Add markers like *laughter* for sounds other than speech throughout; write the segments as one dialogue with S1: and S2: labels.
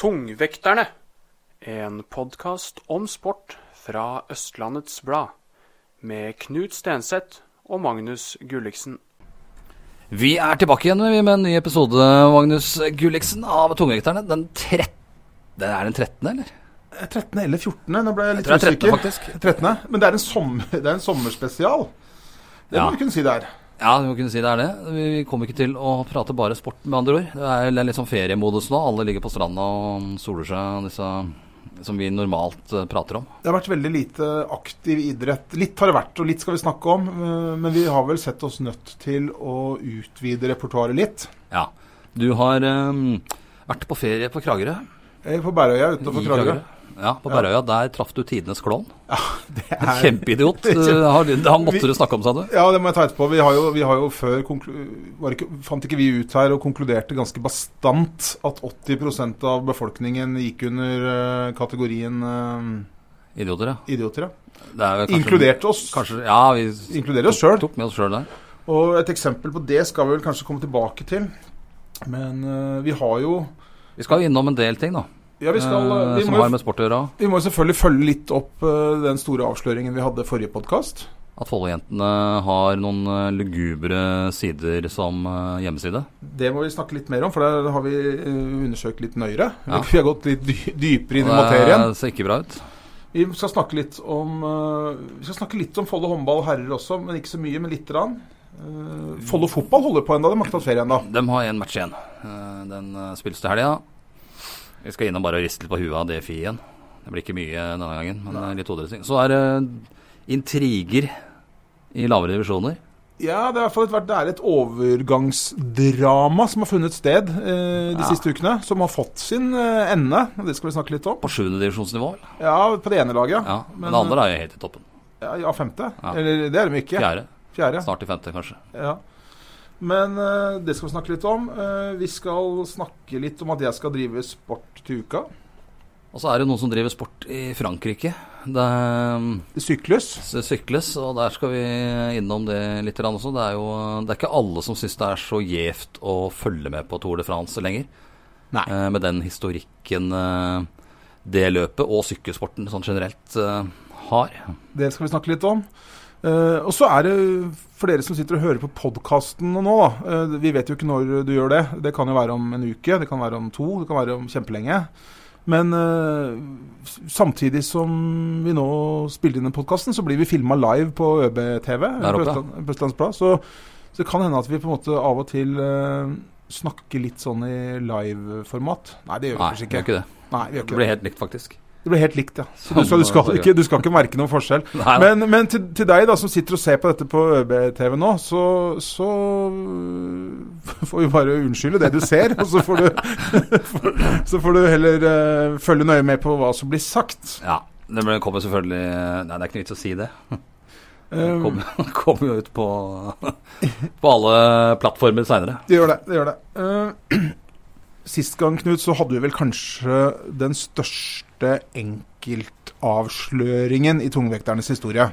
S1: Tungvekterne, en podkast om sport fra Østlandets Blad, med Knut Stenseth og Magnus Gulliksen.
S2: Vi er tilbake igjen vi, med en ny episode, Magnus Gulliksen, av Tungvekterne. Den 13. Det er den 13., eller?
S3: 13. eller 14. Nå ble jeg litt
S2: tror det er 13.,
S3: usikker.
S2: faktisk.
S3: 13., Men det er en, sommer, det er en sommerspesial. Det
S2: Ja.
S3: må du kunne si det er.
S2: Ja, vi må kunne si det er det. Vi vi kommer ikke til å prate bare sport, med andre ord. Det er det er litt sånn feriemodus nå. Alle ligger på stranda og soler seg, disse som vi normalt eh, prater om.
S3: Det har vært veldig lite aktiv idrett. Litt har det vært, og litt skal vi snakke om. eh, Men vi har vel sett oss nødt til å utvide repertoaret litt.
S2: Ja. Du har eh, vært på ferie på Kragerø.
S3: Eh, På Bærøya
S2: I
S3: utenfor Kragerø.
S2: Ja, på Bærøya. Der traff du tidenes klovn.
S3: *laughs* Det er-
S2: *laughs*
S3: *laughs*
S2: Kjempeidiot. Eh, har- Han måtte du snakke om, sa du.
S3: Ja, det må jeg ta etterpå. Vi har jo, vi har jo før konklu- var ikke, Fant ikke vi ut her og konkluderte ganske bastant at 80 av befolkningen gikk under eh, kategorien eh,
S2: Idioter, ja.
S3: idioter, ja.
S2: Det er vel kanskje-
S3: Inkludert oss.
S2: Kanskje, ja, vi
S3: Inkluderer oss sjøl.
S2: tok med oss sjøl der.
S3: Og et eksempel på det skal vi vel kanskje komme tilbake til. Men eh, vi har jo
S2: Vi skal jo innom en del ting, da.
S3: Ja, vi skal
S2: eh,
S3: vi
S2: som
S3: må, jo-
S2: har med sport å gjøre.
S3: vi må jo selvfølgelig følge litt opp eh, den store avsløringen vi hadde forrige podkast.
S2: At Follo-jentene har noen eh, lugubre sider som eh, hjemmeside.
S3: Det må vi snakke litt mer om, for der har vi eh, undersøkt litt nøyere.
S2: Ja.
S3: *laughs*
S2: Eh,
S3: Vi har gått litt dy dypere inn i
S2: Og
S3: materien.
S2: Det ser ikke bra ut.
S3: Vi skal snakke litt om eh, Vi skal snakke litt om Follo håndball herrer også, men ikke så mye, men lite grann. Eh, Follo fotball holder på ennå, de har ikke tatt ferie ennå.
S2: De har én match igjen. Eh, Den eh, spilles til helga. Vi skal innom bare og riste litt på huet av DFI igjen. Det blir ikke mye denne gangen, men eh, litt hoderøsting. Så er det eh, intriger i lavere divisjoner.
S3: Ja, det er i hvert fall et, det er et overgangsdrama som har funnet sted eh, de
S2: Ja.
S3: siste ukene. Som har fått sin eh, ende, og det skal vi snakke litt om.
S2: På sjuende divisjonsnivå. vel?
S3: Ja, på det ene laget.
S2: Ja, men,
S3: Men,
S2: det andre er jo helt i toppen.
S3: Ja, ja femte.
S2: Ja.
S3: Eller det er de ikke.
S2: Fjerde.
S3: Fjerde.
S2: Snart i femte, kanskje.
S3: Ja. Men eh, det skal vi snakke litt om. Eh, vi skal snakke litt om at jeg skal drive sport til uka.
S2: Og så er det noen som driver sport i Frankrike. Det um,
S3: Syklus.
S2: s- sykles, og der skal vi innom det litt grann også. Det er jo det er ikke alle som syns det er så gjevt å følge med på Tour de France lenger.
S3: Nei.
S2: Eh, med den historikken eh, det løpet og sykkelsporten sånn generelt eh, har.
S3: Det skal vi snakke litt om. Eh, og så er det for dere som sitter og hører på podkasten nå, da. eh, vi vet jo ikke når du gjør det. Det kan jo være om en uke, det kan være om to, det kan være om kjempelenge. Men eh, s- samtidig som vi nå spiller inn den podkasten, så blir vi filma live på ØB-TV
S2: Der
S3: på
S2: oppe,
S3: Østland- på Østlands Blad. Så, så det kan hende at vi på en måte av og til eh, snakker litt sånn i live-format. Nei, det gjør vi
S2: Nei,
S3: kanskje
S2: det er
S3: ikke.
S2: ikke det.
S3: Nei, vi gjør
S2: Det
S3: ikke det.
S2: blir helt likt, faktisk. eh,
S3: Det blir helt likt, ja. Så du skal, du skal, ikke, du skal ikke merke noen forskjell.
S2: Nei, da.
S3: Men, men til, til deg da som sitter og ser på dette på ØB-TV nå, så, så *laughs* øh, får vi bare unnskylde det du ser. Og så får du, *laughs* så får du heller øh, følge nøye med på hva som blir sagt.
S2: Ja. Det ble- kommer selvfølgelig eh, Nei, det er ikke noe vits å si det. Det
S3: Eh,
S2: kommer *laughs* kommer jo ut på, på alle plattformer seinere.
S3: Det gjør det. det, gjør det. Eh, *clears throat* sist gang, Knut, så hadde vi vel kanskje den største enkeltavsløringen i tungvekternes historie.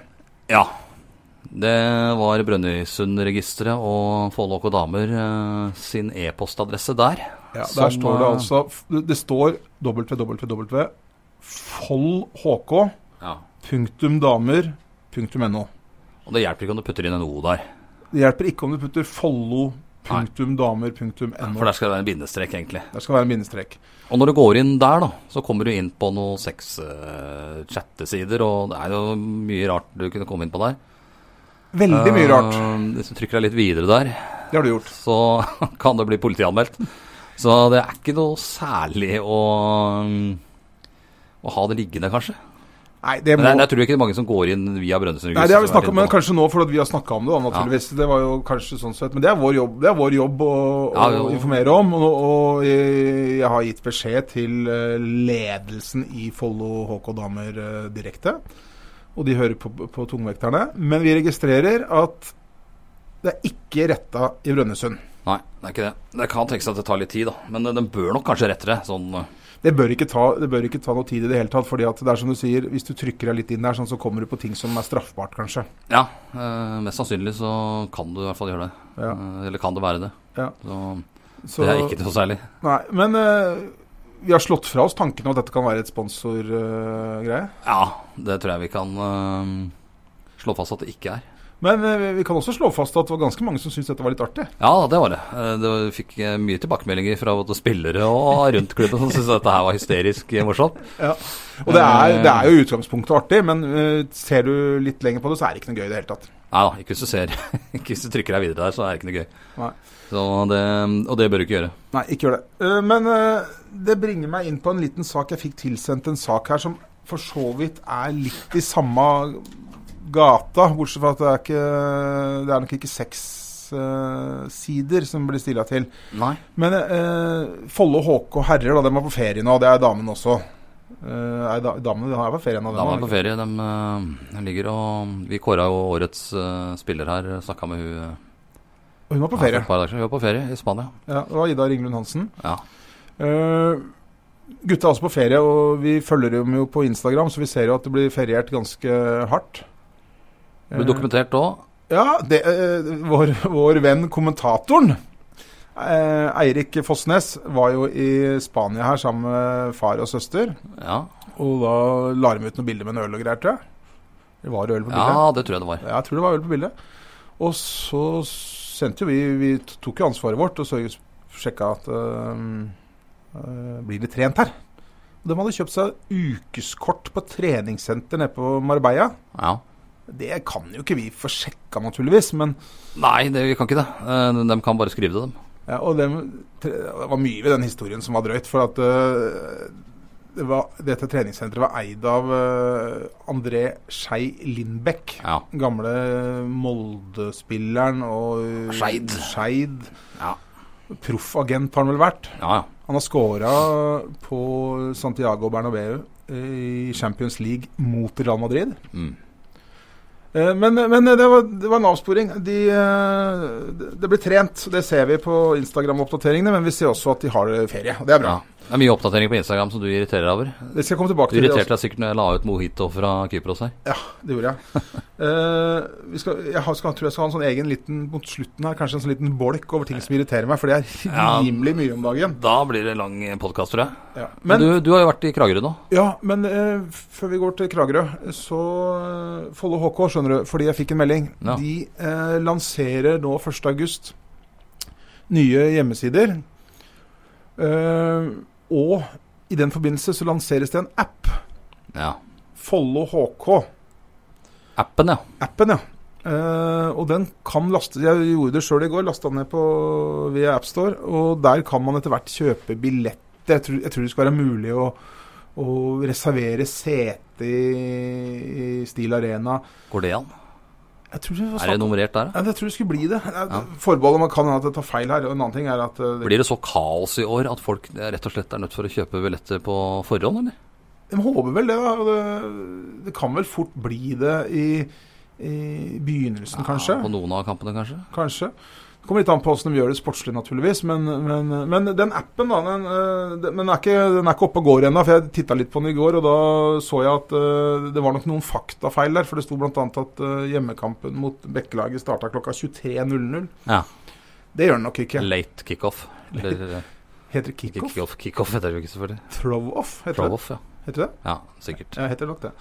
S2: Ja. Det var Brønnøysundregisteret og Follo og damer eh, sin e-postadresse der.
S3: Ja,
S2: Som,
S3: der står det
S2: eh,
S3: altså Det det står www.follhk.damer.no.
S2: Og det hjelper ikke om du putter inn en O der,
S3: Det hjelper ikke om du putter follo.damer.no.
S2: for der skal det være en bindestrek, egentlig.
S3: Der skal være en bindestrek.
S2: Og når du går inn der, da, så kommer du inn på noen seks eh, chattesider, og det er jo mye rart du kunne komme inn på der.
S3: Veldig mye rart.
S2: Eh, hvis du trykker deg litt videre der,
S3: Det har du gjort.
S2: så *laughs* kan det bli politianmeldt. Så det mm, er ikke noe særlig å, å ha det liggende, kanskje.
S3: Nei, det må
S2: Men jeg, jeg tror ikke det er mange som går inn via Brønnøysundregisteret.
S3: Nei, det har vi
S2: som er
S3: snakket om, men
S2: inne på.
S3: kanskje nå fordi vi har snakka om det, da, naturligvis. Det var jo kanskje sånn sett, Men det er vår jobb, det er vår jobb å,
S2: Ja,
S3: å
S2: jo.
S3: informere om. Og, og jeg, jeg har gitt beskjed til eh, ledelsen i Follo HK Damer eh, direkte. Og de hører på, på tungvekterne. Men vi registrerer at det er ikke retta i Brønnøysund.
S2: Nei, det er ikke det. Det kan tenkes at det tar litt tid, da. Men eh, den bør nok kanskje rette det. Sånn eh,
S3: Det bør, ikke ta, det bør ikke ta noe tid i det hele tatt. fordi at det er som du sier, hvis du trykker deg litt inn der, sånn, så kommer du på ting som er straffbart, kanskje.
S2: Ja, eh, mest sannsynlig så kan du i hvert fall gjøre det.
S3: Ja.
S2: Eh, eller kan det være det.
S3: Ja.
S2: Så,
S3: Så-
S2: det er ikke noe særlig.
S3: Nei, men eh, vi har slått fra oss tanken om at dette kan være et sponsorgreie.
S2: Ja, det tror jeg vi kan eh, slå fast at det ikke er.
S3: men eh, vi- vi kan også slå fast at det var ganske mange som syntes dette var litt artig.
S2: Ja, det var det. Eh, det var- fikk eh, mye tilbakemeldinger fra både spillere og rundt klubben som syntes dette her var hysterisk eh, morsomt.
S3: Og det er, det er jo i utgangspunktet artig, men eh, ser du litt lenger på det, så er det ikke noe gøy i det hele tatt.
S2: Nei da, ikke hvis du ser *laughs* Ikke hvis du trykker deg videre der, så er det ikke noe gøy.
S3: Nei.
S2: Så det, og det bør du ikke gjøre.
S3: Nei, ikke gjør det. Eh, men eh, det bringer meg inn på en liten sak. Jeg fikk tilsendt en sak her som for så vidt er litt i samme gata, bortsett fra at det er, ikke, det er nok ikke seks eh, sider som blir stila til.
S2: Nei.
S3: Men eh, Follo HK herrer, da, de er på ferie nå. Det er damene også. Eh, er da, damene de er på ferie nå?
S2: Da var jeg
S3: de
S2: på ferie. De, eh, de ligger og Vi kåra jo årets eh, spiller her. Snakka med hun eh,
S3: Og Hun var på
S2: her for
S3: ferie.
S2: et par dager siden. Hun var på ferie i Spania.
S3: Ja, det var Ida Ringlund Hansen.
S2: Ja.
S3: Eh, gutta er også på ferie, og vi følger dem jo på Instagram, så vi ser jo at det blir feriert ganske hardt. Eh,
S2: Ble dokumentert òg.
S3: Ja, det, eh, vår, vår venn kommentatoren eh, Eirik Fossnes var jo i Spania her sammen med far og søster.
S2: Ja.
S3: Og da la de ut noen bilder med en øl og greier, tror jeg. Det var øl på bildet.
S2: ja, det tror jeg det var.
S3: Ja, Jeg tror det var øl på bildet. Og så sendte jo vi Vi t- tok jo ansvaret vårt og sørget- sjekka at øhm, øh, Blir det trent her? Og De hadde kjøpt seg ukeskort på treningssenter nede på Marbella.
S2: Ja.
S3: Det kan jo ikke vi få sjekka, naturligvis, men
S2: Nei, det, vi kan ikke det. Eh, De kan bare skrive det, dem.
S3: ja, Og det, det var mye ved den historien som var drøyt, for at øh, det var, dette treningssenteret var eid av øh, André Skei Lindbekk.
S2: Ja.
S3: gamle Molde-spilleren og eh,
S2: Skeid.
S3: Skeid.
S2: Ja.
S3: Proffagent har han vel vært.
S2: Ja, ja.
S3: Han har scora på Santiago Bernabeu eh, i Champions League mot Real Madrid.
S2: Mm.
S3: Eh, Men, men det, var, det var en avsporing. De, eh, det ble trent, det ser vi på Instagram-oppdateringene. Men vi ser også at de har ferie, og det er bra.
S2: ja. Det er mye oppdatering på Instagram som du irriterer deg over.
S3: Det skal jeg komme tilbake
S2: Du
S3: til. det også.
S2: irriterte deg sikkert når jeg la ut Mojito fra Kypros her.
S3: Ja, det gjorde jeg. Eh, vi skal, jeg har, skal, tror jeg skal ha en sånn egen liten mot slutten her, kanskje en sånn liten bolk over ting som irriterer meg, for det er
S2: Ja.
S3: rimelig mye om dagen.
S2: Da blir det lang podkast, tror jeg.
S3: Ja.
S2: Men,
S3: Men,
S2: du, du har jo vært i Kragerø nå.
S3: ja, men eh, før vi går til Kragerø, så eh, Follo HK, skjønner du, fordi jeg fikk en melding.
S2: Ja.
S3: De eh, lanserer nå 1.8 nye hjemmesider. Eh, og i den forbindelse så lanseres det en app,
S2: Ja.
S3: Follo HK.
S2: Appen, ja.
S3: appen, ja. Eh, og den kan lastes Jeg gjorde det sjøl i går, lasta den ned på, via AppStore. Og der kan man etter hvert kjøpe billetter. Jeg tror, jeg tror det skal være mulig å, å reservere sete i, i Stil Arena.
S2: Går det an?
S3: Jeg tror det, var
S2: Er det
S3: snakk-
S2: nummerert der, da?
S3: Nei, jeg tror det skulle bli det. Jeg-
S2: Ja.
S3: Forbeholdet man kan er at jeg tar feil her. Og en annen ting er at eh, det,
S2: Blir det så kaos i år at folk eh, rett og slett er nødt for å kjøpe billetter på forhånd, eller?
S3: de håper vel det, da. og Det, det kan vel fort bli det i, i begynnelsen, kanskje.
S2: Ja, på noen av kampene, kanskje?
S3: Kanskje. Det kommer litt an på hvordan de gjør det sportslig, naturligvis. Men, men, men den appen da, den, eh, den, den, er ikke, den er ikke oppe og går ennå. For jeg titta litt på den i går, og da så jeg at eh, det var nok noen faktafeil der. For det sto bl.a. at eh, hjemmekampen mot Bekkelaget starta klokka 23.00.
S2: Ja.
S3: Det gjør den nok ikke.
S2: Late kickoff. Eller eh,
S3: Heter det
S2: ikke
S3: kickoff?
S2: kickoff, kickoff heter det jo ikke, selvfølgelig.
S3: Throw-off, heter, det.
S2: Throw-off, ja.
S3: heter det?
S2: ja. Sikkert.
S3: Ja, heter det nok det.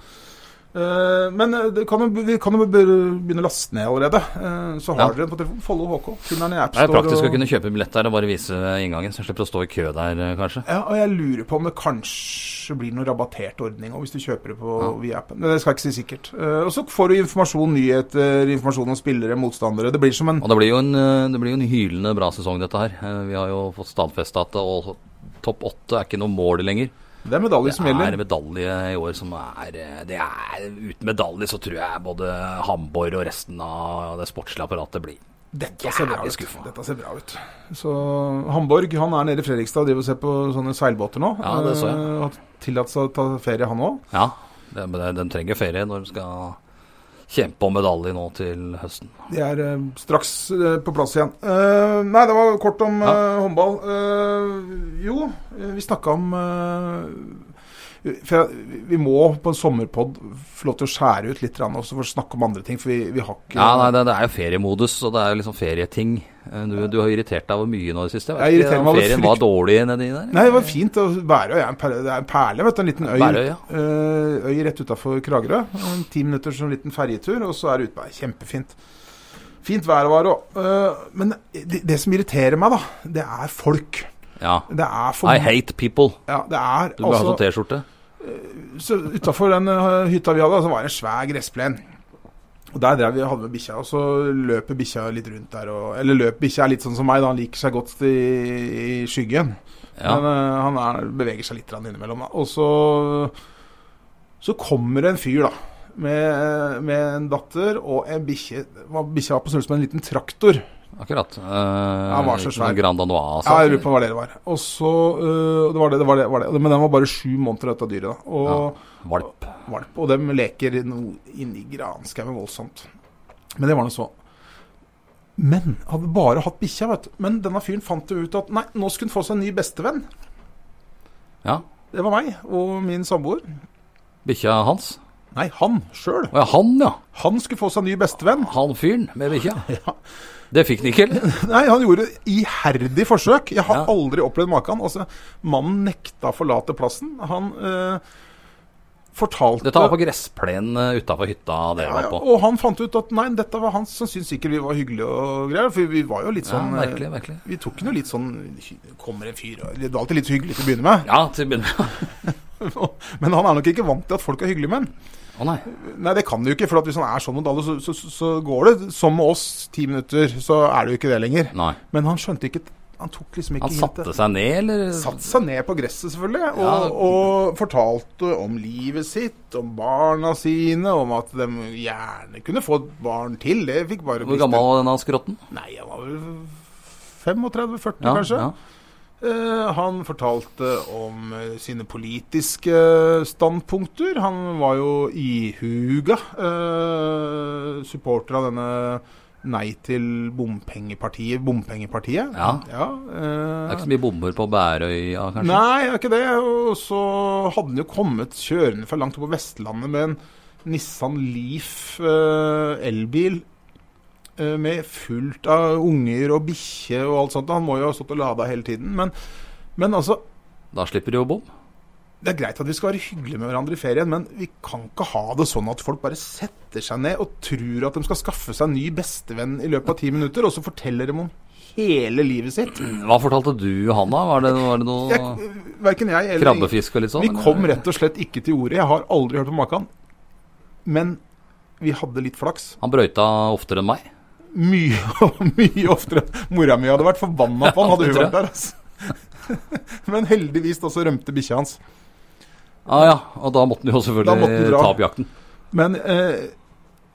S3: Eh, men eh, det kan jo, vi kan jo begynne å laste ned allerede. Eh, så har
S2: Ja.
S3: dere den på telefonen. Follo HK. Kun er den i
S2: Det er
S3: AppStore.
S2: praktisk å kunne kjøpe en billett der og bare vise inngangen, så jeg slipper å stå i kø der, eh, kanskje.
S3: Ja, og jeg lurer på om det kanskje blir noen rabattert ordning også, hvis du kjøper det på
S2: Ja.
S3: via appen. Men det skal jeg ikke si sikkert. Eh, og så får du informasjon, nyheter, informasjon om spillere, motstandere. Det blir som en
S2: Og det blir jo en, eh, det blir jo en hylende bra sesong, dette her. Eh, Vi har jo fått stadfesta at eh, all- topp åtte er ikke noe mål lenger.
S3: Det er medalje som
S2: Det er
S3: gjelder.
S2: medalje i år som er eh, Det er Uten medalje så tror jeg både Hamborg og resten av det sportslige apparatet blir
S3: Dette ser bra
S2: Jævlig
S3: ut.
S2: skuffa.
S3: Dette ser bra ut. Så Hamborg han er nede i Fredrikstad og driver og ser på sånne seilbåter nå.
S2: Ja, det så jeg.
S3: Eh, Har tillatt seg å ta ferie, han òg.
S2: Ja, det, men det, de trenger ferie når de skal kjempe om medalje nå til høsten.
S3: De er eh, straks eh, på plass igjen. Eh, nei, det var kort om
S2: Ja.
S3: eh, håndball. Eh, jo, eh, vi snakka om eh, for jeg, Vi må på en sommerpod få lov til å skjære ut litt grann også for å snakke om andre ting, for vi, vi har ikke
S2: Ja, nei, det, det er jo feriemodus, og det er jo liksom ferieting. Eh, Du, du har irritert deg over mye nå i det siste. Jeg vet
S3: Jeg
S2: ikke
S3: irriterer
S2: om
S3: meg over
S2: Ferien
S3: frykt-
S2: var dårlig nedi der.
S3: Nei, det var fint. og Værøy er en perle, det er en perle vet du. En liten øy,
S2: Værøy, ja.
S3: eh, øy rett utafor Kragerø. En Ti minutter som en liten ferjetur, og så er det utpå. Kjempefint. Fint vær var det òg. Eh, men det, det som irriterer meg, da, det er folk.
S2: Ja.
S3: Det er for
S2: I hate people.
S3: Ja, det er
S2: Du bør ha sånn
S3: altså
S2: T-skjorte.
S3: så Utafor den eh, hytta vi hadde, så var det en svær gressplen. Og Der drev vi og hadde med bikkja, og så løper bikkja litt rundt der. Og, eller løp bikkja er litt sånn som meg, da. Han liker seg godt i, i skyggen.
S2: Ja.
S3: Men eh, han er, beveger seg litt grann innimellom. Da. Og så, så kommer det en fyr, da. Med, eh, med en datter og en bikkje. var- Bikkja var på størrelse med en liten traktor.
S2: Akkurat. Uh,
S3: Han var så svær.
S2: Grand altså. Anois.
S3: Ja, jeg lurer på hva det var. Og så øh, Det var det, det var det. var det. Men den var bare sju måneder, dette dyret. da. Og
S2: Ja. Valp.
S3: valp. Og dem leker noe inni granskauen voldsomt. Men det var nå så. Men hadde bare hatt bikkja, vet du. Men denne fyren fant jo ut at nei, nå skulle han få seg en ny bestevenn.
S2: Ja.
S3: Det var meg og min samboer.
S2: Bikkja hans.
S3: Nei, han sjøl.
S2: Å ja, han ja.
S3: Han skulle få seg en ny bestevenn.
S2: Han fyren med
S3: *laughs*
S2: bikkja. Det fikk han ikke, eller?
S3: Nei, han gjorde iherdig forsøk. Jeg har
S2: Ja.
S3: aldri opplevd maken. Altså, mannen nekta å forlate plassen. Han eh, fortalte
S2: Dette var på gressplenen utafor hytta det
S3: Ja,
S2: var
S3: ja,
S2: på.
S3: og han fant ut at nei, dette var han som syntes sikkert vi var hyggelige og greier. For vi var jo litt
S2: Ja,
S3: sånn eh,
S2: merkelig, merkelig.
S3: Vi tok den jo litt sånn Kommer en fyr og Det var alltid litt hyggelig til å begynne *laughs* med.
S2: Ja, til å begynne med.
S3: Men han er nok ikke vant til at folk er hyggelige med han.
S2: Å nei.
S3: Nei, det kan du jo ikke. For at hvis han er sånn mot alle, så, så, så- så går det. Som med oss, ti minutter, så er det jo ikke det lenger.
S2: nei.
S3: Men han skjønte ikke Han tok liksom ikke
S2: Han satte seg ned, eller?
S3: Satt seg ned på gresset, selvfølgelig, og,
S2: Ja.
S3: og fortalte om livet sitt, om barna sine, om at de gjerne kunne få et barn til. Det fikk bare
S2: Hvor gammel var denne skrotten?
S3: Nei, han var vel 35-40,
S2: Ja,
S3: kanskje.
S2: ja.
S3: Eh, han fortalte om eh, sine politiske standpunkter. Han var jo ihuga eh, supporter av denne Nei til bompengepartiet. Bompengepartiet.
S2: Ja.
S3: eh,
S2: Det er ikke så mye bomber på Bærøya, kanskje?
S3: Nei, det er ikke det. Og så hadde han jo kommet kjørende fra langt oppe på Vestlandet med en Nissan Leaf eh, elbil eh, med fullt av unger og bikkje og alt sånt. Han må jo ha stått og lada hele tiden. Men, men altså
S2: Da slipper de jo bom.
S3: det er greit at vi skal være hyggelige med hverandre i ferien, men vi kan ikke ha det sånn at folk bare setter seg ned og tror at de skal skaffe seg en ny bestevenn i løpet av ti minutter, og så forteller de om hele livet sitt.
S2: Hva fortalte du han, da? Var det, var det noe
S3: Jeg, verken jeg eller
S2: krabbefisk og litt sånn?
S3: Vi
S2: eller?
S3: kom rett og slett ikke til ordet. Jeg har aldri hørt om maken. Men vi hadde litt flaks.
S2: Han brøyta oftere enn meg.
S3: Mye, *laughs* mye oftere. Mora mi hadde vært forbanna på han, hadde hun
S2: det tror jeg.
S3: vært der. Altså. *laughs* Men heldigvis da så rømte bikkja hans.
S2: Ja, ja, og da måtte han jo
S3: Da måtte han
S2: selvfølgelig
S3: dra.
S2: ta opp jakten.
S3: Men eh,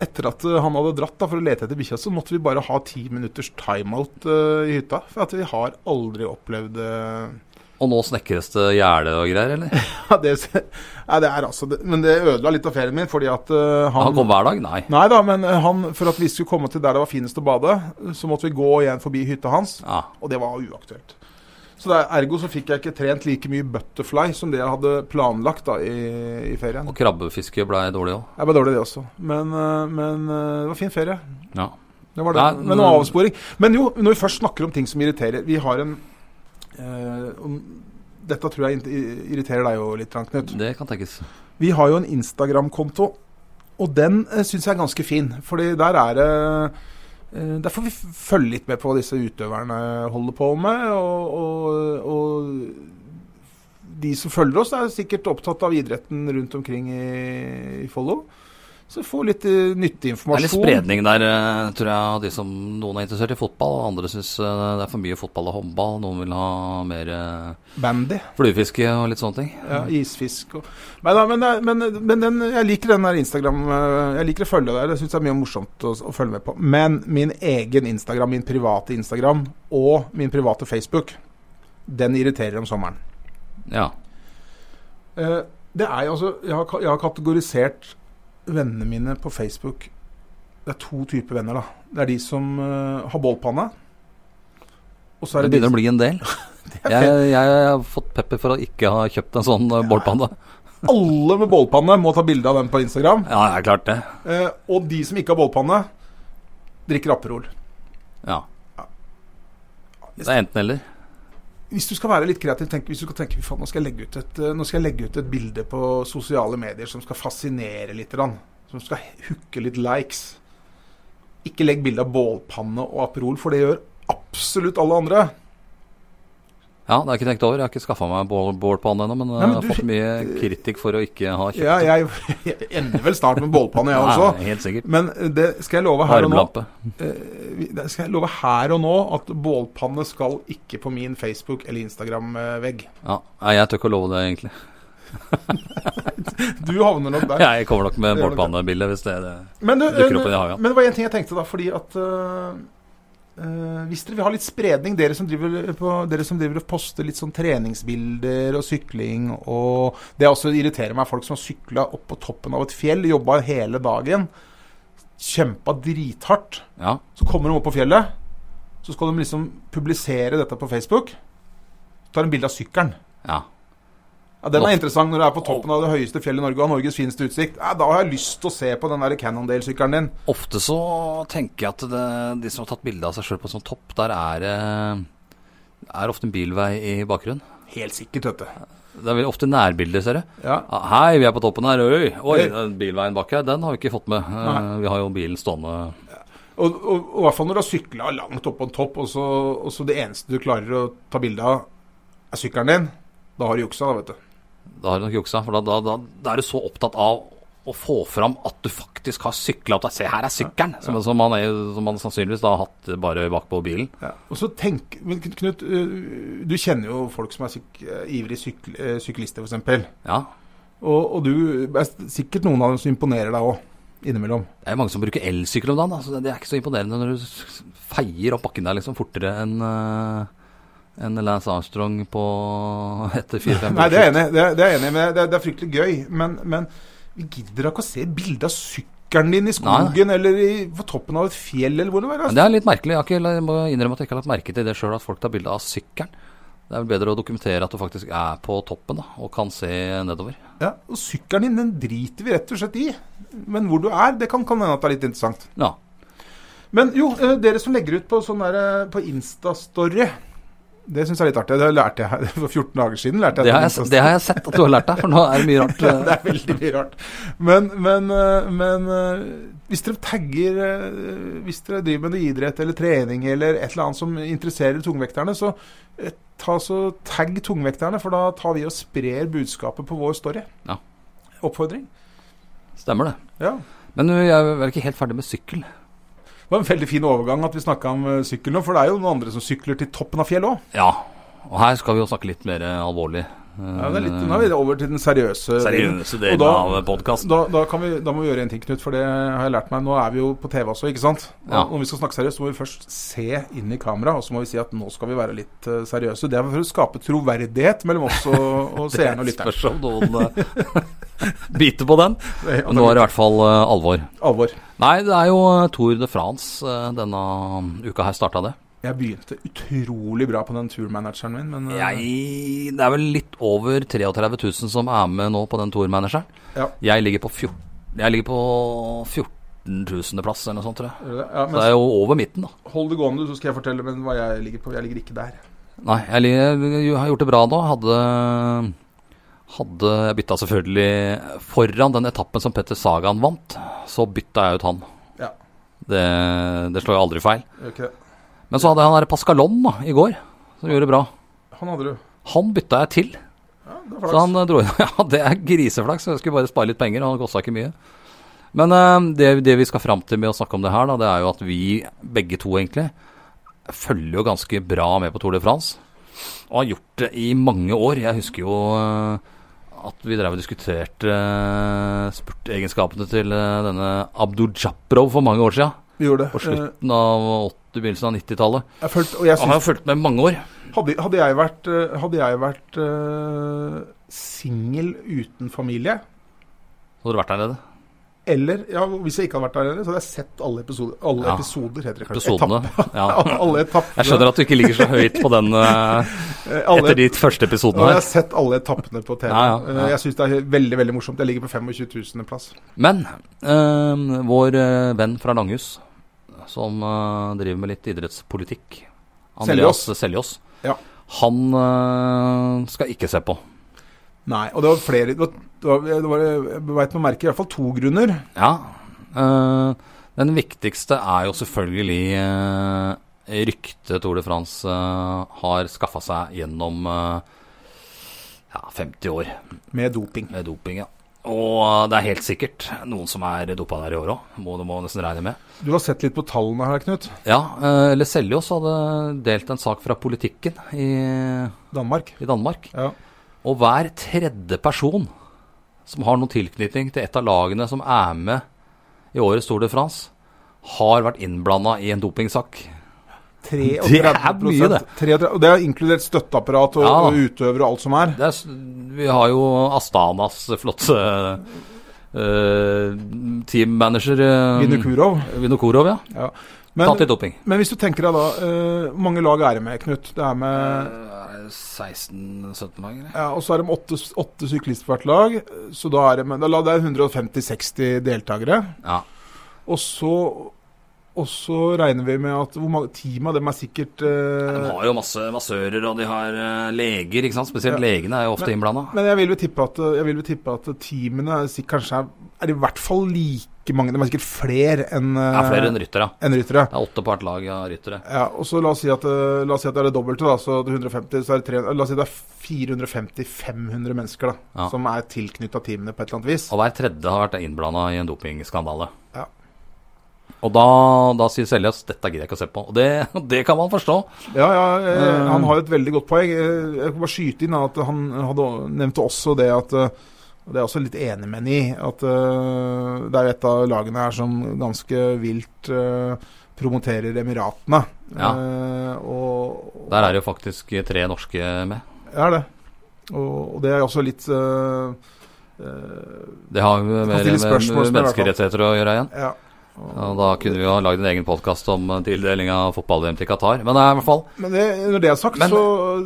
S3: etter at eh, han hadde dratt da, for å lete etter bikkja, så måtte vi bare ha ti minutters timeout eh, i hytta. For at vi har aldri opplevd eh, *laughs*
S2: Og nå snekres det gjerde og greier, eller?
S3: ja, det, Nei, det er altså det, Men det ødela litt av ferien min, fordi at eh,
S2: Han kom hver dag? Nei.
S3: Nei da, men eh, han, for at vi skulle komme til der det var finest å bade, så måtte vi gå igjen forbi hytta hans,
S2: Ja.
S3: og det var uaktuelt. Så det er, Ergo så fikk jeg ikke trent like mye butterfly som det jeg hadde planlagt da i, i ferien.
S2: Og krabbefiske blei dårlig òg.
S3: Jeg var dårlig i det også, men, eh, men eh, det var fin ferie.
S2: Ja.
S3: Det var det.
S2: Nei,
S3: men noe
S2: men-
S3: avsporing. Men jo, når vi først snakker om ting som irriterer Vi har en eh, om- Dette tror jeg irri- irriterer deg jo litt, Knut.
S2: Det kan tenkes.
S3: Vi har jo en Instagram-konto, og den eh, syns jeg er ganske fin. Fordi der er det eh, Der får vi f- følge litt med på hva disse utøverne holder på med. Og, og, og de som følger oss, er sikkert opptatt av idretten rundt omkring i, i Follo. Så få litt eh,
S2: Det
S3: nyttig
S2: er litt
S3: informasjon.
S2: spredning der, eh, tror jeg, av de som noen er interessert i fotball. og Andre syns det er for mye fotball og håndball. Noen vil ha mer eh,
S3: Bandy.
S2: fluefiske og litt sånne ting.
S3: Ja, isfisk og Nei da, men, det er- men, men den, jeg liker den der Instagram eh, Jeg liker å følge der. Jeg syns det er mye morsomt å, å følge med på. Men min egen Instagram, min private Instagram og min private Facebook, den irriterer om sommeren.
S2: Ja.
S3: Eh, Det er jo altså jeg har, ka- jeg har kategorisert vennene mine på Facebook Det er to typer venner, da. Det er de som eh, har bålpanne. Og så er
S2: Det
S3: det,
S2: begynner
S3: de
S2: å bli en
S3: *laughs*
S2: del. Jeg, jeg har fått pepper for å ikke ha kjøpt en sånn eh, bålpanne.
S3: Alle med bålpanne må ta bilde av den på Instagram.
S2: Ja, det er klart det.
S3: Eh, og de som ikke har bålpanne, drikker Aperol.
S2: Ja. Det er enten eller.
S3: Hvis du skal være litt kreativ, tenk, hvis du skal tenke faen, nå, skal jeg legge ut et, eh, nå skal jeg legge ut et bilde på sosiale medier som skal fascinere litt, grann, som skal hooke litt likes. Ikke legg bilde av bålpanne og Aperol, for det gjør absolutt alle andre.
S2: Ja, det har jeg ikke tenkt over. Jeg har ikke skaffa meg bål- bålpanne ennå, men, eh,
S3: Nei, men
S2: jeg har
S3: du-
S2: fått mye kritikk for å ikke ha kjøpt
S3: Ja, jeg, jeg ender vel snart med bålpanne, jeg
S2: Ja,
S3: også.
S2: Helt sikkert.
S3: Men eh, det skal jeg love her og nå
S2: Varmelampe.
S3: eh, vi- det skal jeg love her og nå at bålpanne skal ikke på min Facebook- eller eh, Instagram-vegg.
S2: Ja, Nei, jeg tør ikke å love det, egentlig.
S3: Du havner nok der.
S2: Jeg kommer nok med
S3: Det gjør nok det.
S2: bålpannebilde hvis det er det.
S3: Men, du,
S2: Dukker opp
S3: eh,
S2: i det havet.
S3: men det var én ting jeg tenkte, da. Fordi at eh, eh, Hvis dere vil ha litt spredning, dere som driver, på, dere som driver og poster litt sånn treningsbilder og sykling og Det også irriterer meg, folk som har sykla opp på toppen av et fjell, jobba hele dagen, kjempa drithardt.
S2: Ja.
S3: Så kommer de opp på fjellet. Så skal de liksom publisere dette på Facebook. Så tar de bilde av sykkelen.
S2: ja.
S3: Ja, Den er interessant når du er på toppen av det høyeste fjellet i Norge og har Norges fineste utsikt. Ja, da har jeg lyst til å se på den der Cannondale-sykkelen din.
S2: Ofte så tenker jeg at det, de som har tatt bilde av seg sjøl på en sånn topp, der er det er ofte en bilvei i bakgrunnen.
S3: Helt sikkert, vet du.
S2: Det er vel ofte nærbilder, ser du.
S3: Ja.
S2: Ah, Hei, vi er på toppen her. Oi, oi
S3: Hei.
S2: den bilveien bak her, den har vi ikke fått med. Eh,
S3: Nei.
S2: Vi har jo bilen stående
S3: Og, og, og i hvert fall når du har sykla langt opp på en topp, og så, og så det eneste du klarer å ta bilde av, er sykkelen din. Da har du juksa, da, vet du.
S2: Da har du nok juksa. For da, da, da, da er du så opptatt av å få fram at du faktisk har sykla opp der. Se, her er sykkelen! Som, som, han er, som han sannsynligvis da har hatt bare bakpå bilen.
S3: Og så tenk, men Knut- Knut, øh, du kjenner jo folk som er syk, øh, ivrige sykl, øh, syklister, f.eks.
S2: Ja.
S3: Og, og du det er sikkert noen av dem som imponerer deg òg, innimellom.
S2: Det er mange som bruker elsykkel om dagen. da, så det- det er ikke så imponerende når du s- feier opp bakken der liksom fortere enn eh, enn Lance Armstrong på *laughs* etter fire-fem
S3: Nei, det er jeg enig, i, det er, det er jeg enig i, men det er, det er fryktelig gøy. Men, men vi gidder da ikke å se bilde av sykkelen din i skogen eller i, på toppen av et fjell eller hvor det er.
S2: Men det er litt merkelig. Jeg, har ikke, jeg må innrømme at jeg ikke har lagt merke til det sjøl, at folk tar bilde av sykkelen. Det er vel bedre å dokumentere at du faktisk er på toppen da, og kan se nedover.
S3: Ja, og sykkelen din, den driter vi rett og slett i. Men hvor du er, det kan, kan hende at det er litt interessant.
S2: Ja.
S3: Men jo, eh, dere som legger ut på sånn der eh, på Instastory Det syns jeg er litt artig. Det lærte jeg *laughs* for 14 dager siden. lærte jeg
S2: Det
S3: at
S2: har, jeg, det har jeg sett at du har lært deg, for nå er det mye rart.
S3: sånn *laughs* Ja, *laughs*
S2: eh.
S3: det er veldig mye rart. Men, men, eh, men eh, hvis dere tagger eh, Hvis dere driver med noe idrett eller trening eller et eller annet som interesserer tungvekterne, så eh, ta så tagg tungvekterne, for da tar vi og sprer budskapet på vår story.
S2: Ja.
S3: Oppfordring.
S2: eh, Stemmer det.
S3: Ja.
S2: Men eh, jeg er vel ikke helt ferdig med sykkel.
S3: Det var en veldig fin overgang at vi snakka om eh, sykkel nå, for det er jo noen andre som sykler til toppen av fjellet òg.
S2: Ja. Og her skal vi jo snakke litt mer eh, alvorlig. Eh,
S3: Ja, det er litt- nå er vi over til den seriøse delen.
S2: seriøse delen
S3: Og da-
S2: av podkasten.
S3: Da, da, kan vi, da må vi gjøre en ting, Knut, for det har jeg lært meg. Nå er vi jo på TV også, ikke sant? Og
S2: Ja.
S3: Når vi skal snakke seriøst, så må vi først se inn i kamera, og så må vi si at nå skal vi være litt eh, seriøse. Det er for å skape troverdighet mellom oss og,
S2: *laughs*
S3: og seerne og lytterne.
S2: Spørs om noen eh, *laughs* biter på den.
S3: Det-
S2: Men nå er det i hvert fall eh, alvor.
S3: Altså, Alvor.
S2: Nei, det er jo eh, Tour de France eh, denne uka her starta det.
S3: Jeg begynte utrolig bra på den turmanageren min, men eh,
S2: Jeg, det er vel litt over 33 000 som er med nå på den tourmanageren.
S3: Ja.
S2: Jeg ligger på 14 Jeg ligger på 14 000. plass eller noe sånt, tror jeg. Så det
S3: ja, men
S2: er jo over midten, da.
S3: Hold det gående, så skal jeg fortelle men hva jeg ligger på. Jeg ligger ikke der.
S2: Nei, jeg, li- jeg har gjort det bra nå. Hadde hadde jeg bytta selvfølgelig foran den etappen som Petter Sagan vant, så bytta jeg ut han.
S3: Ja.
S2: Det, det slår jo aldri feil.
S3: Gjør ikke det.
S2: Men så hadde jeg han der Pascalon da, i går, som gjorde det bra.
S3: Han hadde du.
S2: Han bytta jeg til.
S3: Ja, det er
S2: Så
S3: flaks.
S2: *laughs* han eh, dro inn Ja, det er griseflaks. så Jeg skulle bare spare litt penger, og han kosta ikke mye. Men eh, det, det vi skal fram til med å snakke om det her, da, det er jo at vi begge to egentlig følger jo ganske bra med på Tour de France. Og har gjort det i mange år. Jeg husker jo eh, at vi drev og diskuterte eh, spurtegenskapene til eh, denne Abdul Japrov for mange år siden.
S3: Vi gjorde det.
S2: På slutten av 80, begynnelsen av 90-tallet.
S3: Eh, Jeg følte, og jeg
S2: Han
S3: synes,
S2: har jo fulgt med i mange år.
S3: hadde, hadde jeg vært, eh, hadde jeg vært eh, singel uten familie,
S2: Så hadde du vært der nede.
S3: eller ja, hvis jeg ikke hadde vært der heller, så hadde jeg sett alle episoder. Alle
S2: Ja.
S3: episoder, heter det kanskje.
S2: Episodene.
S3: *laughs*
S2: Ja.
S3: Etappe. Alle etappene.
S2: Jeg skjønner at du ikke ligger så høyt på den eh,
S3: Eh, alle-
S2: etter de første episodene
S3: Nå har jeg
S2: her.
S3: sett alle etappene på TV.
S2: Ja, ja, ja.
S3: Eh, Jeg syns det er veldig veldig morsomt. Jeg ligger på 25 000. plass.
S2: Men eh, vår eh, venn fra Langhus, som eh, driver med litt idrettspolitikk, Andreas Seljås,
S3: Ja.
S2: han eh, skal ikke se på.
S3: Nei, og det var flere Det var, det var, det var jeg vet man merker i hvert fall to grunner.
S2: Ja. eh, den viktigste er jo selvfølgelig uh, ryktet Tour de France eh, har skaffa seg gjennom eh, ja, 50 år.
S3: Med doping.
S2: Med doping, ja. Og eh, det er helt sikkert noen som er dopa der i år òg. Må du må nesten regne med.
S3: Du har sett litt på tallene her, Knut.
S2: Ja, eh, Leselius hadde delt en sak fra politikken i,
S3: Danmark.
S2: i Danmark.
S3: Ja.
S2: Og hver tredje person som har noen tilknytning til et av lagene som er med i årets Tour de France, har vært innblanda i en dopingsak.
S3: 33
S2: Det er mye, det.
S3: 33 og det har inkludert støtteapparat og,
S2: Ja.
S3: og utøvere og alt som er.
S2: Det er, s- vi har jo Astanas flotte eh, teammanager eh,
S3: Vinokurov.
S2: Vinokurov, ja.
S3: Ja.
S2: Tatt
S3: Men,
S2: i doping.
S3: men hvis du tenker deg da eh, mange lag er det med, Knut. Det er med
S2: Eh, 16-17 lag, eller?
S3: ja, Og så er de åtte, åtte syklister på hvert lag. Så da er det, med, da- det er 150-60 deltakere.
S2: Ja.
S3: Og så, og så regner vi med at hvor mange team av dem er sikkert eh,
S2: De har jo masse massører, og de har eh, leger, ikke sant. Spesielt
S3: Ja.
S2: legene er jo ofte innblanda.
S3: Men jeg vil jo tippe at, jeg vil jo tippe at teamene er sikk- kanskje er, er i hvert fall like mange. De er sikkert flere enn
S2: Det er flere enn
S3: eh,
S2: ryttere.
S3: enn ryttere.
S2: Det er åtte på hvert lag av ryttere.
S3: Ja, og så la oss si at, eh, la oss si at det er det dobbelte, da. Så det er 150, så er det 300, la oss si det er 450-500 mennesker da,
S2: Ja.
S3: som er tilknytta teamene på et eller annet vis.
S2: Og hver tredje har vært innblanda i en dopingskandale.
S3: Ja.
S2: Og da, da sier Seljas dette gidder jeg ikke å se på. Og det, *laughs* det kan man forstå.
S3: Ja, ja, eh,
S2: Eh.
S3: han har jo et veldig godt poeng. Eh, Jeg kan bare skyte inn da, at han hadde, nevnte også det at eh, og Det er jeg også litt enig med han i. At eh, det er jo et av lagene her som ganske vilt eh, promoterer Emiratene.
S2: Ja.
S3: Eh, og, og,
S2: Der er det jo faktisk tre norske med.
S3: Ja, det. Og, og det er jo også litt eh, eh,
S2: Det har jo
S3: kan
S2: mer
S3: stille
S2: med
S3: spørsmål som i hvert fall.
S2: menneskerettigheter å gjøre igjen.
S3: Ja.
S2: Ja, da kunne vi jo ha lagd en egen podkast om eh, tildeling av fotball-VM til Qatar. Men det er i hvert fall
S3: Men det, når det er sagt,
S2: Men-
S3: så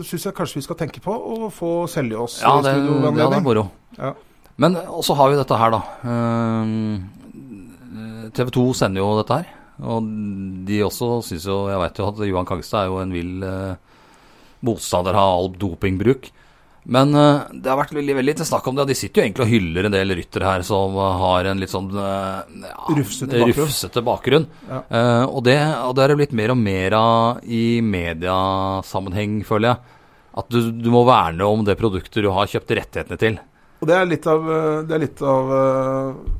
S3: syns jeg kanskje vi skal tenke på å få selge oss
S2: Ja,
S3: i
S2: det,
S3: studio
S2: det
S3: ved
S2: hadde vært
S3: anledning.
S2: moro.
S3: Ja.
S2: Men så har vi dette her, da. Ehm, TV 2 sender jo dette her. Og de også syns jo Jeg veit jo at Johan Kangstad er jo en vill eh, motstander av all dopingbruk. Men eh, det har vært veldig veldig til snakk om det. og De sitter jo egentlig og hyller en del ryttere her som har en litt sånn eh, ja,
S3: Rufsete bakgrunn.
S2: rufsete bakgrunn.
S3: Ja.
S2: Eh, og, det, og det er det blitt mer og mer av i mediasammenheng, føler jeg. At du, du må verne om det produktet du har kjøpt rettighetene til.
S3: Og det er litt av eh, Det er litt av eh,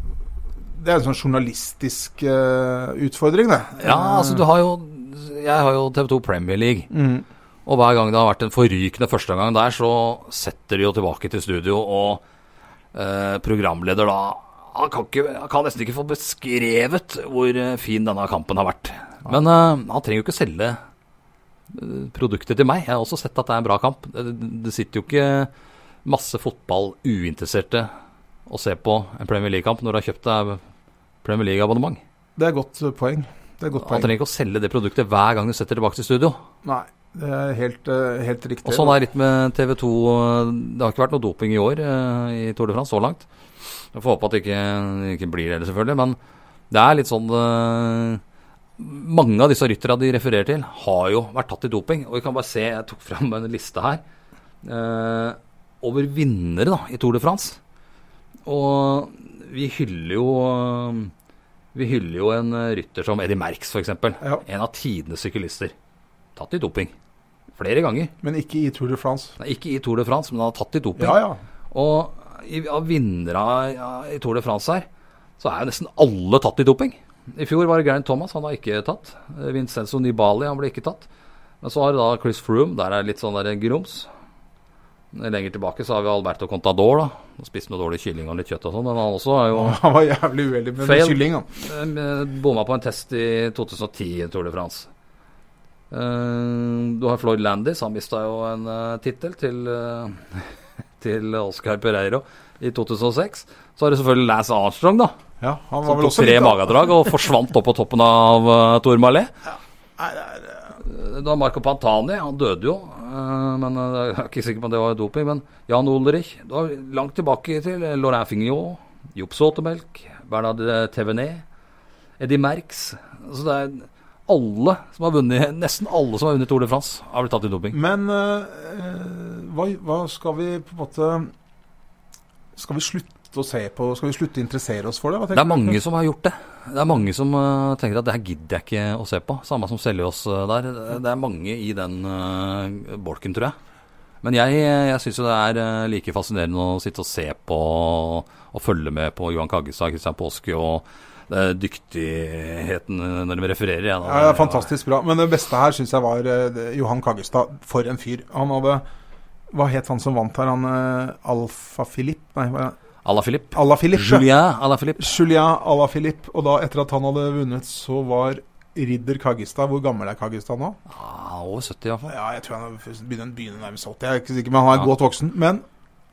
S3: Det er en sånn journalistisk eh, utfordring, det.
S2: Ja, altså du har jo Jeg har jo TV2 Premier League.
S3: Mm.
S2: Og hver gang det har vært en forrykende førsteomgang der, så setter de jo tilbake til studio, og eh, programleder da han kan, ikke, han kan nesten ikke få beskrevet hvor eh, fin denne kampen har vært. Men eh, han trenger jo ikke selge eh, produktet til meg. Jeg har også sett at det er en bra kamp. Det, det- det sitter jo ikke masse fotballuinteresserte og ser på en Premier League-kamp når du har kjøpt deg Premier League-abonnement.
S3: Det er et godt eh, poeng. Det er et godt
S2: Han
S3: poeng.
S2: trenger ikke å selge det produktet hver gang du setter tilbake til studio.
S3: Nei, det er helt, eh, helt riktig.
S2: Og sånn er det litt med TV 2. eh, Det har ikke vært noe doping i år eh, i Tour de France så langt. Jeg får håpe at det ikke, ikke blir det, selvfølgelig. Men det er litt sånn eh, Mange av disse rytterne de refererer til, har jo vært tatt i doping. Og vi kan bare se, jeg tok fram en liste her eh, over vinnere da, i Tour de France. Og vi hyller jo eh, Vi hyller jo en eh, rytter som Eddie Merckx, f.eks.
S3: Ja.
S2: En av tidenes syklister. Tatt i doping. Flere ganger.
S3: Men ikke i Tour de France.
S2: Nei, ikke i Tour de France, men han har tatt i doping.
S3: Ja, ja.
S2: Og i- av vinnere i- i Tour de France her, så er jo nesten alle tatt i doping. I fjor var det Geraint Thomas, han har ikke tatt. Eh, Vincenzo Nibali, han ble ikke tatt. Men så har du da Chris Froome, der er det litt sånn der grums. Lenger tilbake så har vi Alberto Contador, da. Han spiste noe dårlig kylling og litt kjøtt og sånn, men han også er jo
S3: *laughs* Han var jævlig uheldig med
S2: Fail.
S3: kylling. Han.
S2: Eh, Bomma på en test i 2010 i Tour de France. Eh, Du har Floyd Landis, han mista jo en eh, tittel til, eh, *laughs* til Oscar Pereiro i 2006. Så har du selvfølgelig Lance Armstrong, da.
S3: Ja, han var
S2: Som
S3: vel
S2: tok
S3: også
S2: Sånn tre
S3: litt-
S2: magedrag og forsvant opp på toppen av eh, Tourmalet.
S3: Nei, det er-
S2: Eh, Da Marco Pantani, han døde jo. eh, Men eh, jeg er ikke sikker på om det var doping. Men Jan Ulrich du har Langt tilbake til eh, Laurent Fignon, Jopp Såtemelk, Bernard eh, Tevenet, Eddie Merx. Så det er alle som har vunnet Nesten alle som har vunnet Tour de France, har blitt tatt i doping.
S3: Men eh, hva, hva skal vi på en måte Skal vi slutte å se på Skal vi slutte å interessere oss for det? Hva
S2: Det
S3: tenker
S2: er mange som har gjort det. Det er mange som eh, tenker at det her gidder jeg ikke å se på. Samme som Seljås eh, der. Det- Det er mange i den eh, bolken, tror jeg. Men jeg, jeg syns jo det er eh, like fascinerende å sitte og se på og følge med på Johan Kaggestad, Kristian Påske og eh, dyktigheten eh, når de refererer. jeg, da.
S3: Ja, det er fantastisk bra. Men det beste her syns jeg var eh, Johan Kaggestad. For en fyr. Han hadde Hva het han som vant her? Han eh, Alfa Filip? Nei, hva
S2: Alaphilippe.
S3: Ala Filip.
S2: Julien Alaphilippe.
S3: Julien Ala Filip. Og da, etter at han hadde vunnet, så var Ridder Kaggestad Hvor gammel er Kaggestad nå?
S2: Ah, over 70 iallfall.
S3: Ja, jeg tror han begynner, begynner nærmest 80. Jeg er ikke sikker, men han er
S2: Ja.
S3: godt voksen. Men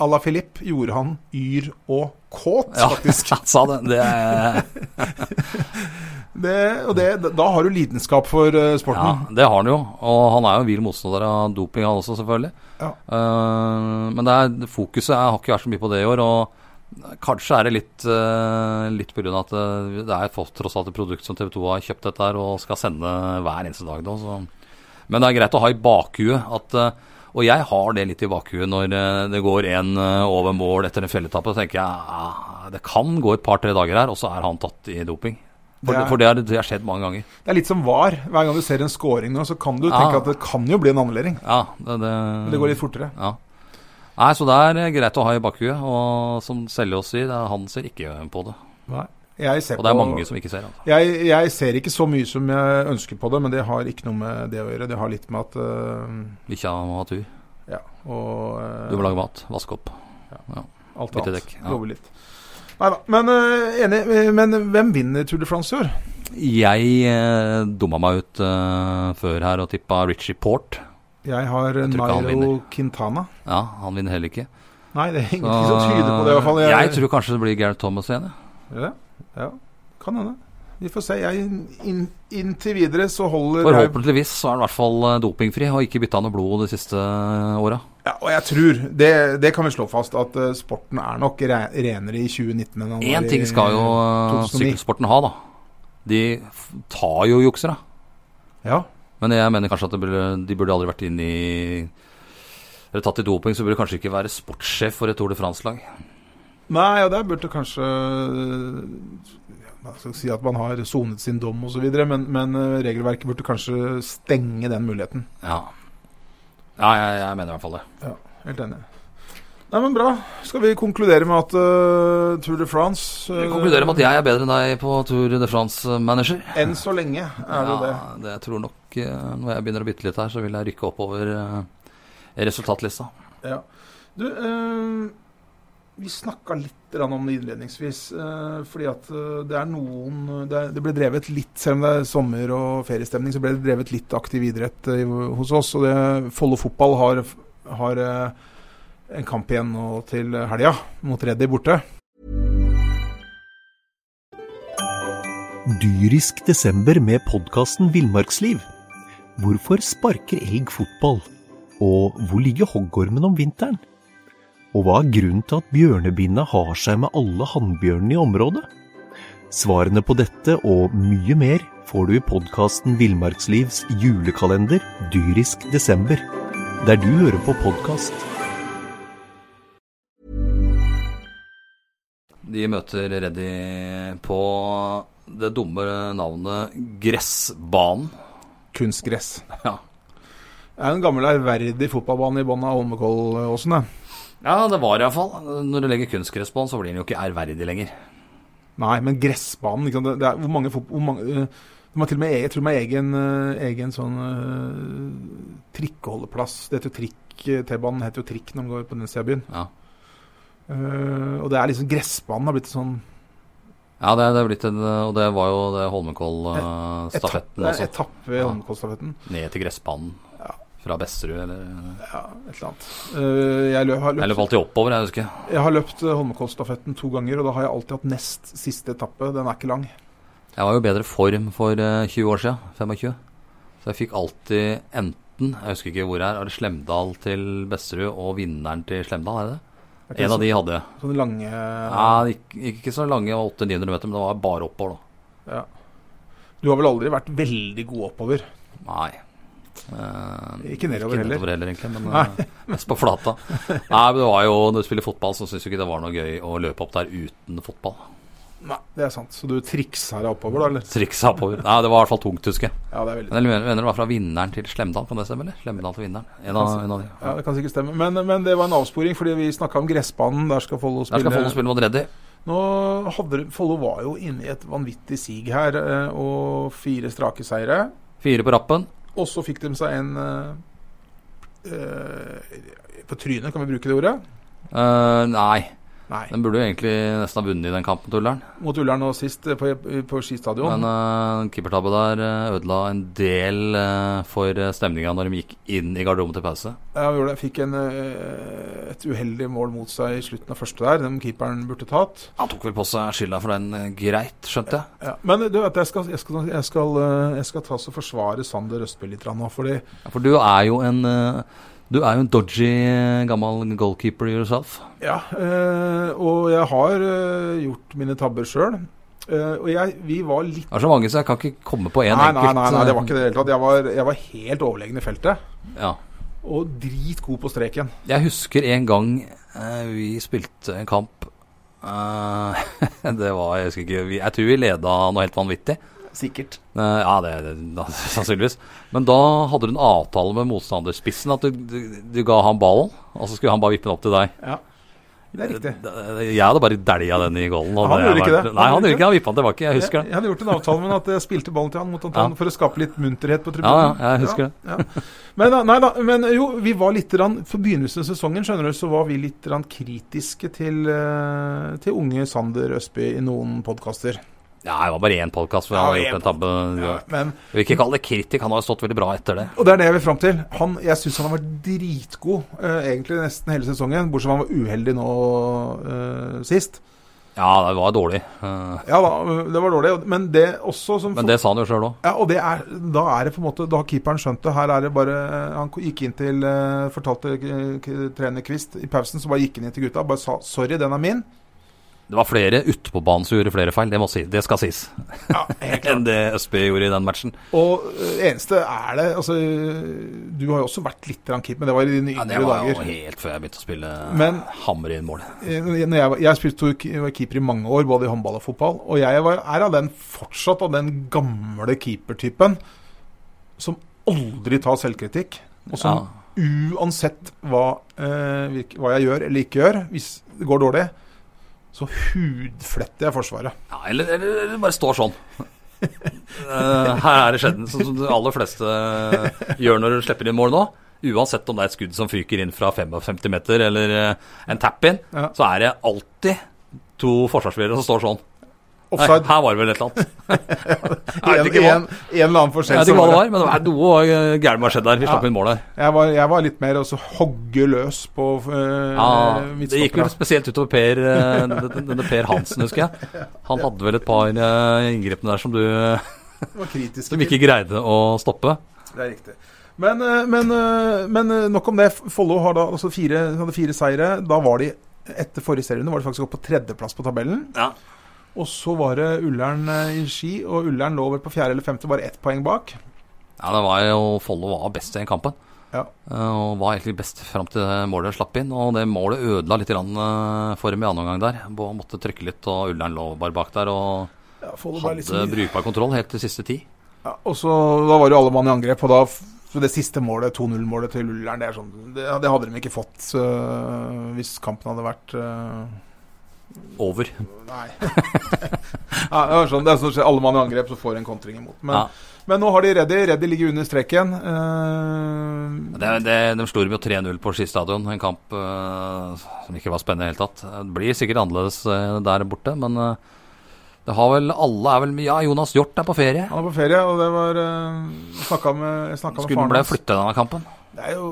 S3: Ala Filip gjorde han yr og kåt,
S2: Ja, *laughs*
S3: faktisk.
S2: han sa det. det er,
S3: Det, og det, da har du lidenskap for eh,
S2: Ja,
S3: sporten.
S2: det har han jo. Og han er jo en vill motstander av doping, han også, selvfølgelig.
S3: Ja.
S2: Eh, men det er, fokuset er, har ikke vært så mye på det i år. Og kanskje er det litt, uh, litt pga. at eh, det, det er et, fort- tross alt et produkt som TV 2 har kjøpt dette her og skal sende hver eneste dag. Da, så. Men det er greit å ha i bakhuet at eh, og jeg har det litt i bakhuet når eh, det går en eh, over mål etter en felletappe. Så tenker jeg ah, det kan gå et par-tre dager her, og så er han tatt i doping. For
S3: Det
S2: det,
S3: er-
S2: for det, har, det har skjedd mange ganger.
S3: Det er litt som var. Hver gang du ser en scoring nå, så kan du
S2: Ja.
S3: tenke at det kan jo bli en annullering.
S2: Ja, det, det,
S3: Men det går litt
S2: Mm.
S3: fortere.
S2: Ja. Nei, så det er eh, greit å ha i bakhuet. Og som Seljås sier, det er- han ser ikke på det.
S3: Jeg ser,
S2: Og det er
S3: på,
S2: mange som ikke ser. Altså.
S3: jeg, jeg ser ikke så mye som jeg ønsker på det, men det har ikke noe med det å gjøre. Det har litt med at eh,
S2: Bikkja må ha tur.
S3: Ja, og eh,
S2: Du må lage mat, vaske opp.
S3: alt
S2: bytte
S3: annet.
S2: dekk, ja.
S3: Jobbe litt. Nei da. Men, eh, enig, eh, men hvem vinner Tour de France i år?
S2: Jeg eh, dumma meg ut eh, før her og tippa Richie Port.
S3: Jeg har
S2: Jeg tror ikke han
S3: Nairo
S2: vinner.
S3: Quintana.
S2: Ja, han vinner heller ikke.
S3: Nei, det er ingenting som tyder på det, i hvert fall.
S2: Jeg, tror kanskje det blir Gareth Thomas igjen. jeg.
S3: ja, ja, kan hende. Vi får se. Jeg, inn, inntil videre så holder jeg
S2: Forhåpentligvis så er han i hvert fall eh, dopingfri og ikke bytta noe blod de siste eh, åra.
S3: ja, Og jeg tror, det, det kan vi slå fast, at eh, sporten er nok re renere i 2019 enn han
S2: Én
S3: var i
S2: ting skal jo eh,
S3: 2009.
S2: sykkelsporten ha, da. De f- tar jo juksere.
S3: Ja.
S2: Men jeg mener kanskje at det burde, de burde aldri vært inn i Eller tatt i doping, så burde det kanskje ikke være sportssjef for et Tour de France-lag.
S3: Nei, og der burde kanskje ja, Man skal si at man har sonet sin dom osv., men, men eh, regelverket burde kanskje stenge den muligheten.
S2: Ja. ja jeg, jeg mener i hvert fall det.
S3: Helt enig. Nei, men Bra. Skal vi konkludere med at eh, Tour de France eh,
S2: Jeg konkluderer med at jeg er bedre enn deg på Tour de France-manager.
S3: eh, Enn så lenge er det det.
S2: Ja, det jeg tror nok eh, Når jeg begynner å bytte litt her, så vil jeg rykke oppover eh, resultatlista.
S3: Ja. Du, eh, vi snakka litt grann om det innledningsvis. eh, fordi at eh, det er noen det, er, det ble drevet litt, selv om det er sommer og feriestemning, så ble det drevet litt aktiv idrett eh, hos oss. Og det, Follo fotball har, har eh, en kamp igjen nå til helga, mot Reddy borte.
S4: Dyrisk desember med podkasten Villmarksliv. Hvorfor sparker elg fotball? Og hvor ligger hoggormen om vinteren? Og hva er grunnen til at bjørnebinna har seg med alle hannbjørnene i området? Svarene på dette og mye mer får du i podkasten Villmarkslivs julekalender Dyrisk desember, der du hører på podkast.
S2: De møter Reddy på det dumme navnet Gressbanen.
S3: Kunstgress.
S2: Ja.
S3: Det er en gammel ærverdig fotballbane i bunnen av Holmenkollåsen. det.
S2: Ja, det var iallfall. Når du legger kunstgress på den, så blir den jo ikke ærverdig lenger.
S3: Nei, men gressbanen ikke sant? Det, det er, Hvor mange, fot- hvor mange eh, de har til og med, e- Jeg tror de har egen, eh, egen sånn eh, trikkeholdeplass. Det heter jo trikk eh, T-banen heter jo trikk når man går på den sida av byen.
S2: Ja.
S3: Eh, og det er liksom gressbanen har blitt en sånn
S2: Ja, det, det er blitt en, og det var jo det Holmenkollstafetten
S3: etappe,
S2: også.
S3: etappe i
S2: Ja.
S3: Holmenkollstafetten.
S2: Ned til gressbanen
S3: Ja.
S2: fra Besserud, eller
S3: Ja, et eller annet. Eh, jeg, lø, har
S2: Eller
S3: løpt,
S2: falt de oppover, jeg husker.
S3: jeg har løpt eh, Holmenkollstafetten to ganger, og da har jeg alltid hatt nest siste etappe. Den er ikke lang.
S2: Jeg var jo i bedre form for eh, 20 år siden. 25. Så jeg fikk alltid enten Jeg husker ikke hvor det er. Er det Slemdal til Besserud og vinneren til Slemdal? Er det det?
S3: Det er ikke
S2: En av
S3: så,
S2: de hadde jeg.
S3: Sånne lange
S2: Ja, det gikk, gikk ikke så lange, det var 800-900 meter, men det var bare oppover, da.
S3: Du har vel aldri vært veldig god oppover?
S2: Nei. Eh,
S3: Ikke
S2: ikke
S3: nedover heller.
S2: nedover heller, egentlig, men eh, mest på flata. Nei, men det var jo Når du spiller fotball, så syns du ikke det var noe gøy å løpe opp der uten fotball. *laughs*
S3: Nei, det er sant. Så du triksa deg oppover, da? eller?
S2: Triksa oppover. Nei, det var i hvert fall tungt, husker jeg.
S3: Ja, det er veldig
S2: Men jeg mener- mener det var fra vinneren til Slemdal, kan det stemme, eller? Slemdal til vinneren. En av, en av de.
S3: ja, Det kan sikkert stemme. Men, men det var en avsporing, fordi vi snakka om gressbanen. Der skal Follo
S2: Der
S3: spille.
S2: skal Follo spille mot Reddy.
S3: Nå hadde de- Follo var jo inne i et vanvittig sig her, eh, og fire strake seire.
S2: Fire på rappen.
S3: Og så fikk de seg en eh, eh, På trynet, kan vi bruke det ordet?
S2: Eh, nei,
S3: Nei.
S2: den burde jo egentlig nesten ha vunnet i den kampen, tulleren.
S3: Mot Ullern nå sist, eh, på, på Ski stadion.
S2: Men uh, keepertabbe der eh, ødela en del eh, for stemninga når de gikk inn i garderoben til pause.
S3: Ja, vi gjorde det. Fikk en, eh, et uheldig mål mot seg i slutten av første der, den keeperen burde tatt.
S2: Han tok vel på seg skylda for den eh, greit, skjønte jeg.
S3: Ja, men du vet, jeg skal, jeg skal, jeg skal, eh, jeg skal ta og forsvare Sander Østby litt grann nå. Fordi
S2: Ja, For du er jo en eh, Du er jo en dodgy eh, gammel goalkeeper yourself.
S3: Ja, eh, og jeg har eh, gjort mine tabber sjøl. og jeg, vi var litt
S2: Det er så mange, så jeg kan ikke komme på én
S3: nei, nei,
S2: enkelt. eh,
S3: nei, nei, det var ikke det i det hele tatt. Jeg var, jeg var helt overlegen i feltet.
S2: Ja.
S3: Og dritgod på streken.
S2: Jeg husker en gang eh, vi spilte en kamp eh, *laughs* Det var Jeg husker ikke vi, Jeg tror vi leda noe helt vanvittig.
S3: Sikkert.
S2: Eh, ja, det, det da, sannsynligvis. Men da hadde du en avtale med motstanderspissen at du, du, du ga ham ballen, og så skulle han bare vippe den opp til deg.
S3: Ja, det er riktig.
S2: Eh, Jeg hadde bare dælja den i golden. og
S3: Han
S2: det
S3: gjorde
S2: var-
S3: ikke det.
S2: Nei, han gjorde ikke det. Han vippa den tilbake. Jeg husker
S3: Jeg,
S2: det.
S3: jeg hadde gjort en avtale med at jeg spilte ballen til han mot Anton
S2: Ja.
S3: for å skape litt munterhet på
S2: Ja,
S3: tribunen.
S2: ja, jeg husker det.
S3: Ja, ja. Men, da- nei da, men jo, vi var litt rann, For begynnelsen av sesongen skjønner du, så var vi litt rann kritiske til, eh, til unge Sander Østby i noen podkaster.
S2: Ja, det var bare én podkast hvor
S3: Ja,
S2: han hadde
S3: én
S2: gjort en tabbe.
S3: Men
S2: Jeg vil ikke kalle det kritikk, han har jo stått veldig bra etter det.
S3: Og det er det jeg vil fram til. Han, jeg syns han har vært dritgod eh, egentlig nesten hele sesongen, bortsett fra han var uheldig nå eh, sist.
S2: Ja, det var dårlig. eh,
S3: Ja da, det var dårlig, og- men det også som
S2: Men det sa han jo sjøl òg.
S3: ja, og det er, da er det på en måte Da har keeperen skjønt det. Her er det bare Han gikk inn til eh, Fortalte eh, k- trener Kvist i pausen, så bare gikk han inn til gutta og bare sa 'sorry, den er min'.
S2: Det var flere ute på banen som gjorde flere feil, det, må si, det skal sies.
S3: Ja, helt *laughs* klart.
S2: Enn det Østby gjorde i den matchen.
S3: Og eh, eneste er det Altså, du har jo også vært litt grann keeper, men det var i dine
S2: Ja,
S3: yngre
S2: det var jo
S3: dager.
S2: helt før jeg begynte å spille
S3: Men-
S2: hammer inn mål.
S3: Eh, når jeg, var- jeg spilte jo ke- var keeper i mange år, både i håndball og fotball. Og jeg var, er av den fortsatt av den gamle keepertypen som aldri tar selvkritikk. Og som
S2: Ja.
S3: uansett hva, eh, virk- hva jeg gjør eller ikke gjør, hvis det går dårlig, så hudfletter jeg Forsvaret.
S2: Ja, eller, eller, eller bare står sånn. Eh, her er det skjedd, sånn som de aller fleste eh, gjør når du slipper inn mål nå. Uansett om det er et skudd som fyker inn fra 55 meter eller eh, en tap-in,
S3: Ja.
S2: så er det alltid to forsvarsspillere som står sånn. Nei,
S3: Offside.
S2: her var det vel et eller
S3: *laughs*
S2: annet. Jeg
S3: En,
S2: vet ikke hva,
S3: en, en eller annen
S2: jeg
S3: forskjell.
S2: vet
S3: så
S2: ikke hva det
S3: var
S2: var, men det var noe eh, gærent må ha skjedd der. Vi slapp inn mål der.
S3: det- Jeg var, jeg var litt mer også hogge løs på eh,
S2: Ja, Ah, det gikk vel
S3: midtstoppere.
S2: spesielt utover Per eh, denne denne Per Hansen, husker jeg. Han hadde vel et par eh, inngrepene der som du eh,
S3: Det var kritiske
S2: som ikke greide å stoppe.
S3: Det er riktig. Men, eh, men, eh, men eh, nok om det. Follo har da altså fire, hadde fire seire. Da var de etter forrige serierunde var de faktisk oppe på tredjeplass på tabellen.
S2: Ja.
S3: Og så var det Ullern eh, i Ski, og Ullern lå vel på fjerde eller femte, bare ett poeng bak.
S2: Ja, det var jo Follo var best i den kampen.
S3: Ja.
S2: Eh, Og var egentlig best fram til det målet slapp inn. Og det målet ødela litt grann, eh, for dem i annen omgang der. Bo- Måtte trykke litt, og Ullern lå bare bak der og
S3: Ja, Follo var litt
S2: hadde
S3: sånn-
S2: brukbar kontroll helt til siste ti.
S3: ja, og så da var jo alle mann i angrep, og da f- så det siste målet, 2-0-målet til Ullern, det, er sånn, det, det hadde de ikke fått eh, hvis kampen hadde vært eh,
S2: Over.
S3: Nei. *laughs* ja, det, er sånn, det er sånn skjer. Alle mann i angrep, så får en kontring imot. Men,
S2: Ja.
S3: men nå har de Reddy. Reddy ligger under streken. Eh,
S2: Det, det, de slo dem jo 3-0 på Ski stadion, en kamp eh, som ikke var spennende i det hele tatt. Det blir sikkert annerledes eh, der borte, men eh, det har vel alle er vel Ja, Jonas Hjort er på ferie.
S3: han er på ferie, og det var uh, snakka med, jeg snakket med
S2: Skulle
S3: faren
S2: ble
S3: hans.
S2: flytta denne kampen.
S3: Det er jo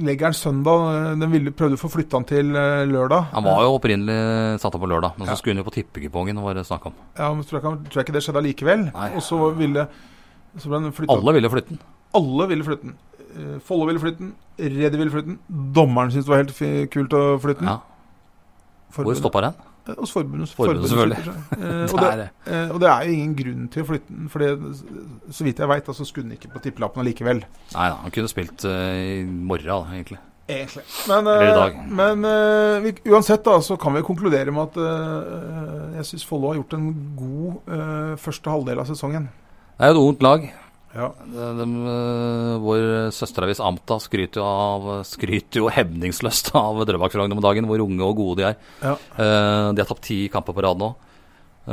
S3: Legger han søndag eh, Den ville, prøvde å få flytta han til eh, lørdag.
S2: Han var jo opprinnelig satt opp på lørdag, men
S3: Ja.
S2: så skulle han jo på tippekupongen, var det snakk om.
S3: Ja, men tror jeg, ikke han- tror jeg ikke det skjedde allikevel.
S2: Nei.
S3: Og så ville så ble han flyttet-
S2: Alle ville flytte den.
S3: Alle ville flytte den. Eh, Follo ville flytte den. Reddy ville flytte den. Dommeren syntes det var helt fi- kult å flytte den.
S2: Ja. Hvor
S3: Forbundet-
S2: stoppa den?
S3: Eh, Hos forbundet.
S2: Forbundet, selvfølgelig. *laughs*
S3: flytter seg. Eh, og, det,
S2: Der.
S3: eh, og det er jo ingen grunn til å flytte den, for det, så vidt jeg veit, så skulle den ikke på tippelappen allikevel.
S2: Nei da, han kunne spilt eh, i morgen, da, egentlig.
S3: Egentlig. Men, eh,
S2: Eller i dag.
S3: men eh, vi, uansett da, så kan vi konkludere med at eh, jeg syns Follo har gjort en god eh, første halvdel av sesongen.
S2: Det er jo et ungt lag.
S3: Ja.
S2: De, de, eh, vår søsteravis Amta skryter jo, av, skryter jo hevningsløst av Drøbak Frogn om dagen, hvor unge og gode de er.
S3: Ja.
S2: Eh, de har tapt ti kamper på rad nå.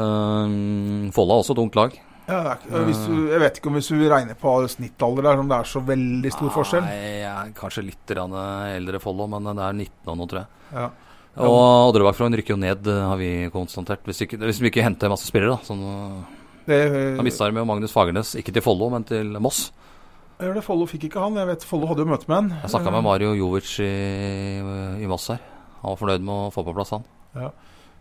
S2: Uh, Follo er også et ungt lag.
S3: Ja, det er, ikke- hvis du, jeg vet ikke om hvis du regner på snittalder der, om det er så veldig stor forskjell.
S2: Nei, jeg er kanskje litt grann eh, eldre Follo, men det er 19 år nå, tror jeg.
S3: Ja.
S2: Og Drøbak Frogn rykker jo ned, eh, har vi konstatert. Hvis, ikke, hvis de ikke henter masse spillere, da. Sånn, eh,
S3: Det,
S2: da mista de jo Magnus Fagernes, ikke til Follo, men til Moss.
S3: eh, jeg gjør det, Follo fikk ikke han. Jeg vet Follo hadde jo møte med han.
S2: Jeg snakka med Mario Jovic i, i Moss her. Han var fornøyd med å få på plass han.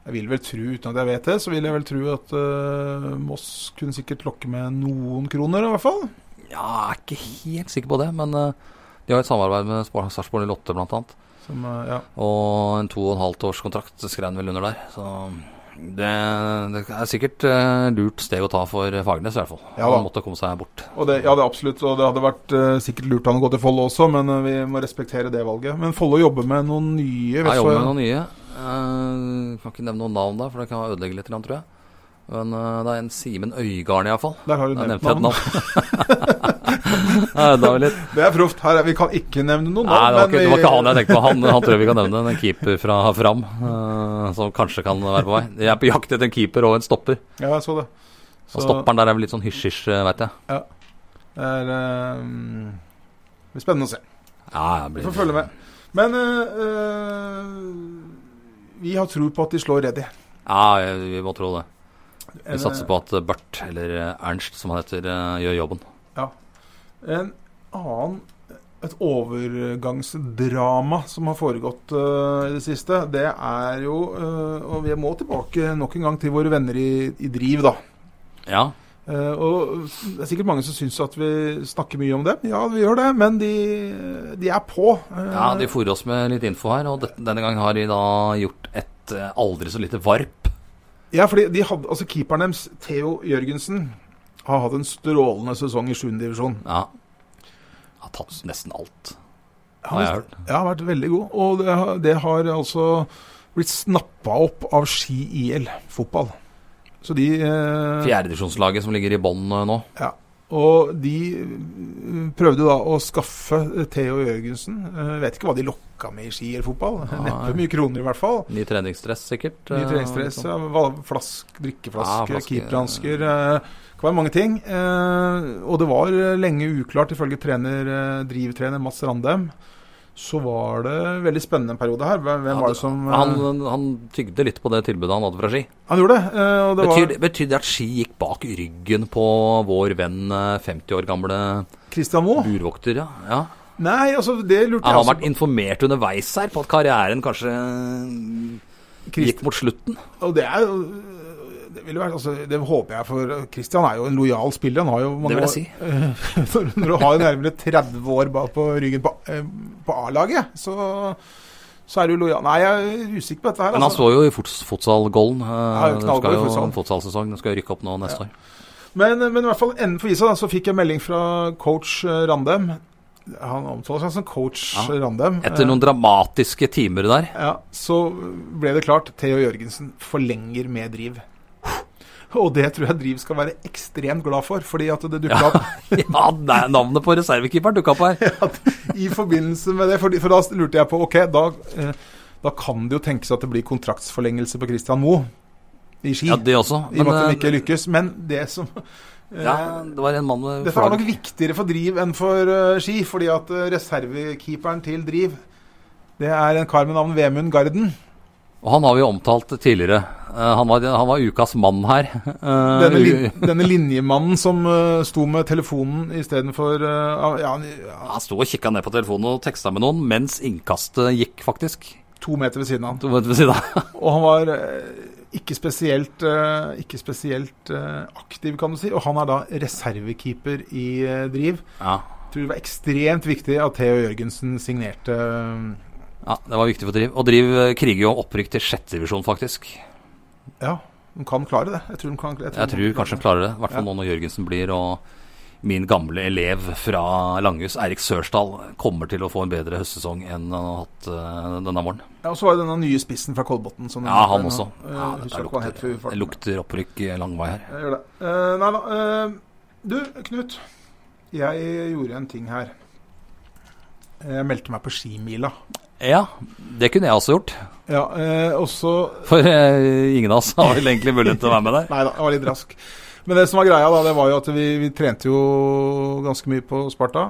S3: Jeg vil vel tro, uten at jeg vet det, så vil jeg vel tro at eh, Moss kunne sikkert lokke med noen kroner, i hvert fall.
S2: Ja, jeg er ikke helt sikker på det, men eh, de har et samarbeid med Spar- Sarpsborg 08 bl.a.
S3: Som, eh, ja.
S2: Og en to og en halvt års kontrakt skrev han vel under der. Så det, det er sikkert eh, lurt steg å ta for Fagernes, i hvert fall.
S3: Ja da.
S2: han måtte komme seg bort.
S3: Og det, ja, det er absolutt. Og det hadde vært eh, sikkert lurt han å gå til Follo også, men eh, vi må respektere det valget. Men Follo jobber med noen nye.
S2: Jeg
S3: vet
S2: jobber
S3: du-
S2: med noen nye. Eh, kan ikke nevne noen navn der, for det kan ødelegge litt, grann, tror jeg. Men eh, det er en Simen Øygarden iallfall.
S3: Der har du
S2: Da
S3: nevnt
S2: nevnte jeg et *laughs*
S3: navn.
S2: navn. Jeg ødela vel litt.
S3: Det er proft. Her, er- vi kan ikke nevne noen
S2: Nei, det var,
S3: navn.
S2: ikke, det var
S3: vi-
S2: ikke han jeg tenkte på. Han, han tror jeg vi kan nevne. En keeper fra Fram eh, som kanskje kan være på vei. Jeg er på jakt etter en keeper og en stopper.
S3: Ja, jeg så det.
S2: Og stopperen der er vel litt sånn hysj-hysj, veit jeg.
S3: det er, eh, det blir spennende å se.
S2: Ja, jeg
S3: Vi
S2: blir-
S3: får følge med. Men eh, eh, vi har tro på at de slår Reddy.
S2: Ja, jeg- vi må tro det. Vi satser på at eh, Bert, eller eh, Ernst som han heter, eh, gjør jobben.
S3: En annen Et overgangsdrama som har foregått eh, i det siste, det er jo eh, Og vi må tilbake nok en gang til våre venner i, i Driv, da.
S2: Ja,
S3: Eh, og Det er sikkert mange som syns at vi snakker mye om dem. Ja, vi gjør det, men de, de er på. Eh,
S2: ja de fôrer oss med litt info her, og dette, denne gangen har de da gjort et eh, aldri så lite varp.
S3: ja, fordi de hadde, altså Keeperen deres, Theo Jørgensen, har hatt en strålende sesong i 7. divisjon.
S2: Ja. Har tatt nesten alt, har
S3: Han
S2: jeg hørt.
S3: Ja, har vært veldig god. Og det har, det har altså blitt snappa opp av Ski IL fotball. Så de eh,
S2: Fjerdedivisjonslaget som ligger i bånn eh, nå.
S3: Og de eh, prøvde da å skaffe Theo Jørgensen. Eh, vet ikke hva de lokka med i Ski IL fotball.
S2: Nei.
S3: Neppe mye kroner, i hvert fall.
S2: Ny treningsdress, sikkert.
S3: Ny
S2: eh,
S3: treningsdress,
S2: liksom.
S3: ja, hva- flask, drikkeflasker,
S2: Ja, flaske.
S3: keeperhansker eh, Det kan være mange ting. Eh, og det var eh, lenge uklart, ifølge trener, eh, drivtrener Mats Randem. Så var det veldig spennende en periode her. Hvem
S2: Ja,
S3: var
S2: det-
S3: det som eh,
S2: Han, han tygde litt på det tilbudet han hadde fra Ski.
S3: Han gjorde det. eh, Og det
S2: Betyr,
S3: var
S2: det- betyr det at Ski gikk bak ryggen på vår venn, eh, 50 år gamle
S3: Christian Moe.
S2: burvokter? Ja. ja.
S3: Nei, altså, det lurte
S2: Han
S3: jeg
S2: har
S3: også
S2: vært informert underveis her på at karrieren kanskje eh,
S3: på. Christ-
S2: gikk mot slutten.
S3: Og det er jo det, vil jo være, altså, det håper jeg, for Christian er jo en lojal spiller. Han har jo mange
S2: Det vil jeg
S3: år-
S2: si.
S3: Når, når du har nærmere 30 år bak på ryggen på, eh, på A-laget, så, så er du lojal. Nei, jeg er usikker på dette her.
S2: Men han
S3: Altså.
S2: så jo i fots- fotsalgolden. eh,
S3: Ja,
S2: Den
S3: knallgod
S2: skal
S3: i
S2: jo
S3: futsal.
S2: fotsalsesong. Den skal jo rykke opp nå neste år.
S3: Men, men i hvert fall innenfor isa da, så fikk jeg melding fra coach eh, Randem. Han omtaler seg som coach
S2: Ja.
S3: Randem. Eh,
S2: Etter noen dramatiske timer der. *laughs*
S3: ja, Så ble det klart. Theo Jørgensen forlenger med Driv. Og det tror jeg Driv skal være ekstremt glad for, fordi at det dukka opp
S2: Ja, nei, navnet på reservekeeperen dukka opp her.
S3: i forbindelse med det. For, for da lurte jeg på Ok, da, eh, Da kan det jo tenkes at det blir kontraktsforlengelse på Christian Moe i ski.
S2: Ja, det også.
S3: I og med at de
S2: eh,
S3: ikke lykkes. Men det som eh,
S2: ja, det var en mann med
S3: Dette er nok
S2: flagg.
S3: viktigere for Driv enn for eh, Ski, fordi at eh, reservekeeperen til Driv, det er en kar med navn Vemund Garden.
S2: Og han har vi jo omtalt tidligere. Eh, han, var, han var ukas mann her. Eh,
S3: Denne,
S2: u-
S3: lin denne linjemannen som eh, sto med telefonen istedenfor uh, ja, ja,
S2: han sto og kikka ned på telefonen og teksta med noen mens innkastet gikk, faktisk.
S3: to meter ved siden av.
S2: Du vet ved siden av.
S3: Og han var eh, ikke spesielt, eh, ikke spesielt eh, aktiv, kan du si. Og han er da reservekeeper i eh, Driv.
S2: Ja.
S3: Jeg tror det var ekstremt viktig at Theo Jørgensen signerte eh,
S2: ja, det var viktig for Driv. Og Driv eh, kriger jo om opprykk til sjette divisjon, faktisk.
S3: Ja, de kan klare det. Jeg tror de kan,
S2: Jeg
S3: de
S2: tror kanskje
S3: kan klare
S2: han
S3: det.
S2: klarer det. I hvert fall
S3: Ja.
S2: nå når Jørgensen blir. Og min gamle elev fra Langhus, Eirik Sørsdal, kommer til å få en bedre høstsesong enn han har hatt eh, denne våren.
S3: Ja, og så var det denne nye spissen fra Kolbotn. som-
S2: Ja, han også.
S3: Eh,
S2: Ja,
S3: husker
S2: dette
S3: ikke hva han het
S2: lukter,
S3: for farten.
S2: det lukter opprykk eh, lang vei her.
S3: Jeg gjør det. Eh, nei da. eh, du, Knut. Jeg gjorde en ting her. Jeg meldte meg på skimila.
S2: Ja, det kunne jeg også gjort.
S3: Ja, eh, og så
S2: For eh, ingen av oss har vel egentlig mulighet til å være med der.
S3: Nei da, jeg var litt rask. Men det som var greia, da, det var jo at vi, vi trente jo ganske mye på Sparta.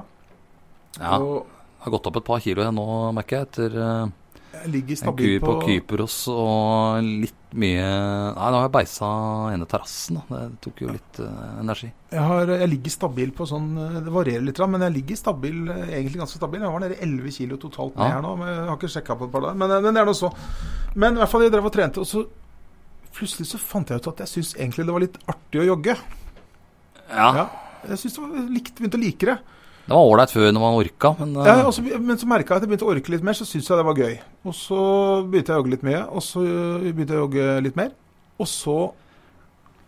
S2: Ja,
S3: Og
S2: Har gått opp et par kilo jeg nå, merker jeg, etter eh,
S3: jeg ligger
S2: en kur
S3: stabilt
S2: på
S3: på,
S2: Kypros og litt mye Nei, nå har jeg beisa ene terrassen, da. Det tok jo litt eh, energi.
S3: jeg, har, jeg ligger stabil på sånn eh, Det varierer litt, grann, men jeg ligger stabil, eh, egentlig ganske stabil. Jeg var nede i 11 kilo totalt ned
S2: Ja.
S3: her nå. Men jeg har ikke sjekka på et par dager. Men, eh, men det er nå så. Men i hvert fall jeg drev og trente, og så plutselig så fant jeg ut at jeg syntes egentlig det var litt artig å jogge.
S2: Ja,
S3: Ja. Jeg synes det var likt, begynte å like det.
S2: Det var ålreit før når man orka, men eh,
S3: Ja, og så- men så merka jeg at jeg begynte å orke litt mer, så syntes jeg det var gøy. Og så begynte jeg å jogge litt mye, og så øh, begynte jeg å jogge litt mer. Og så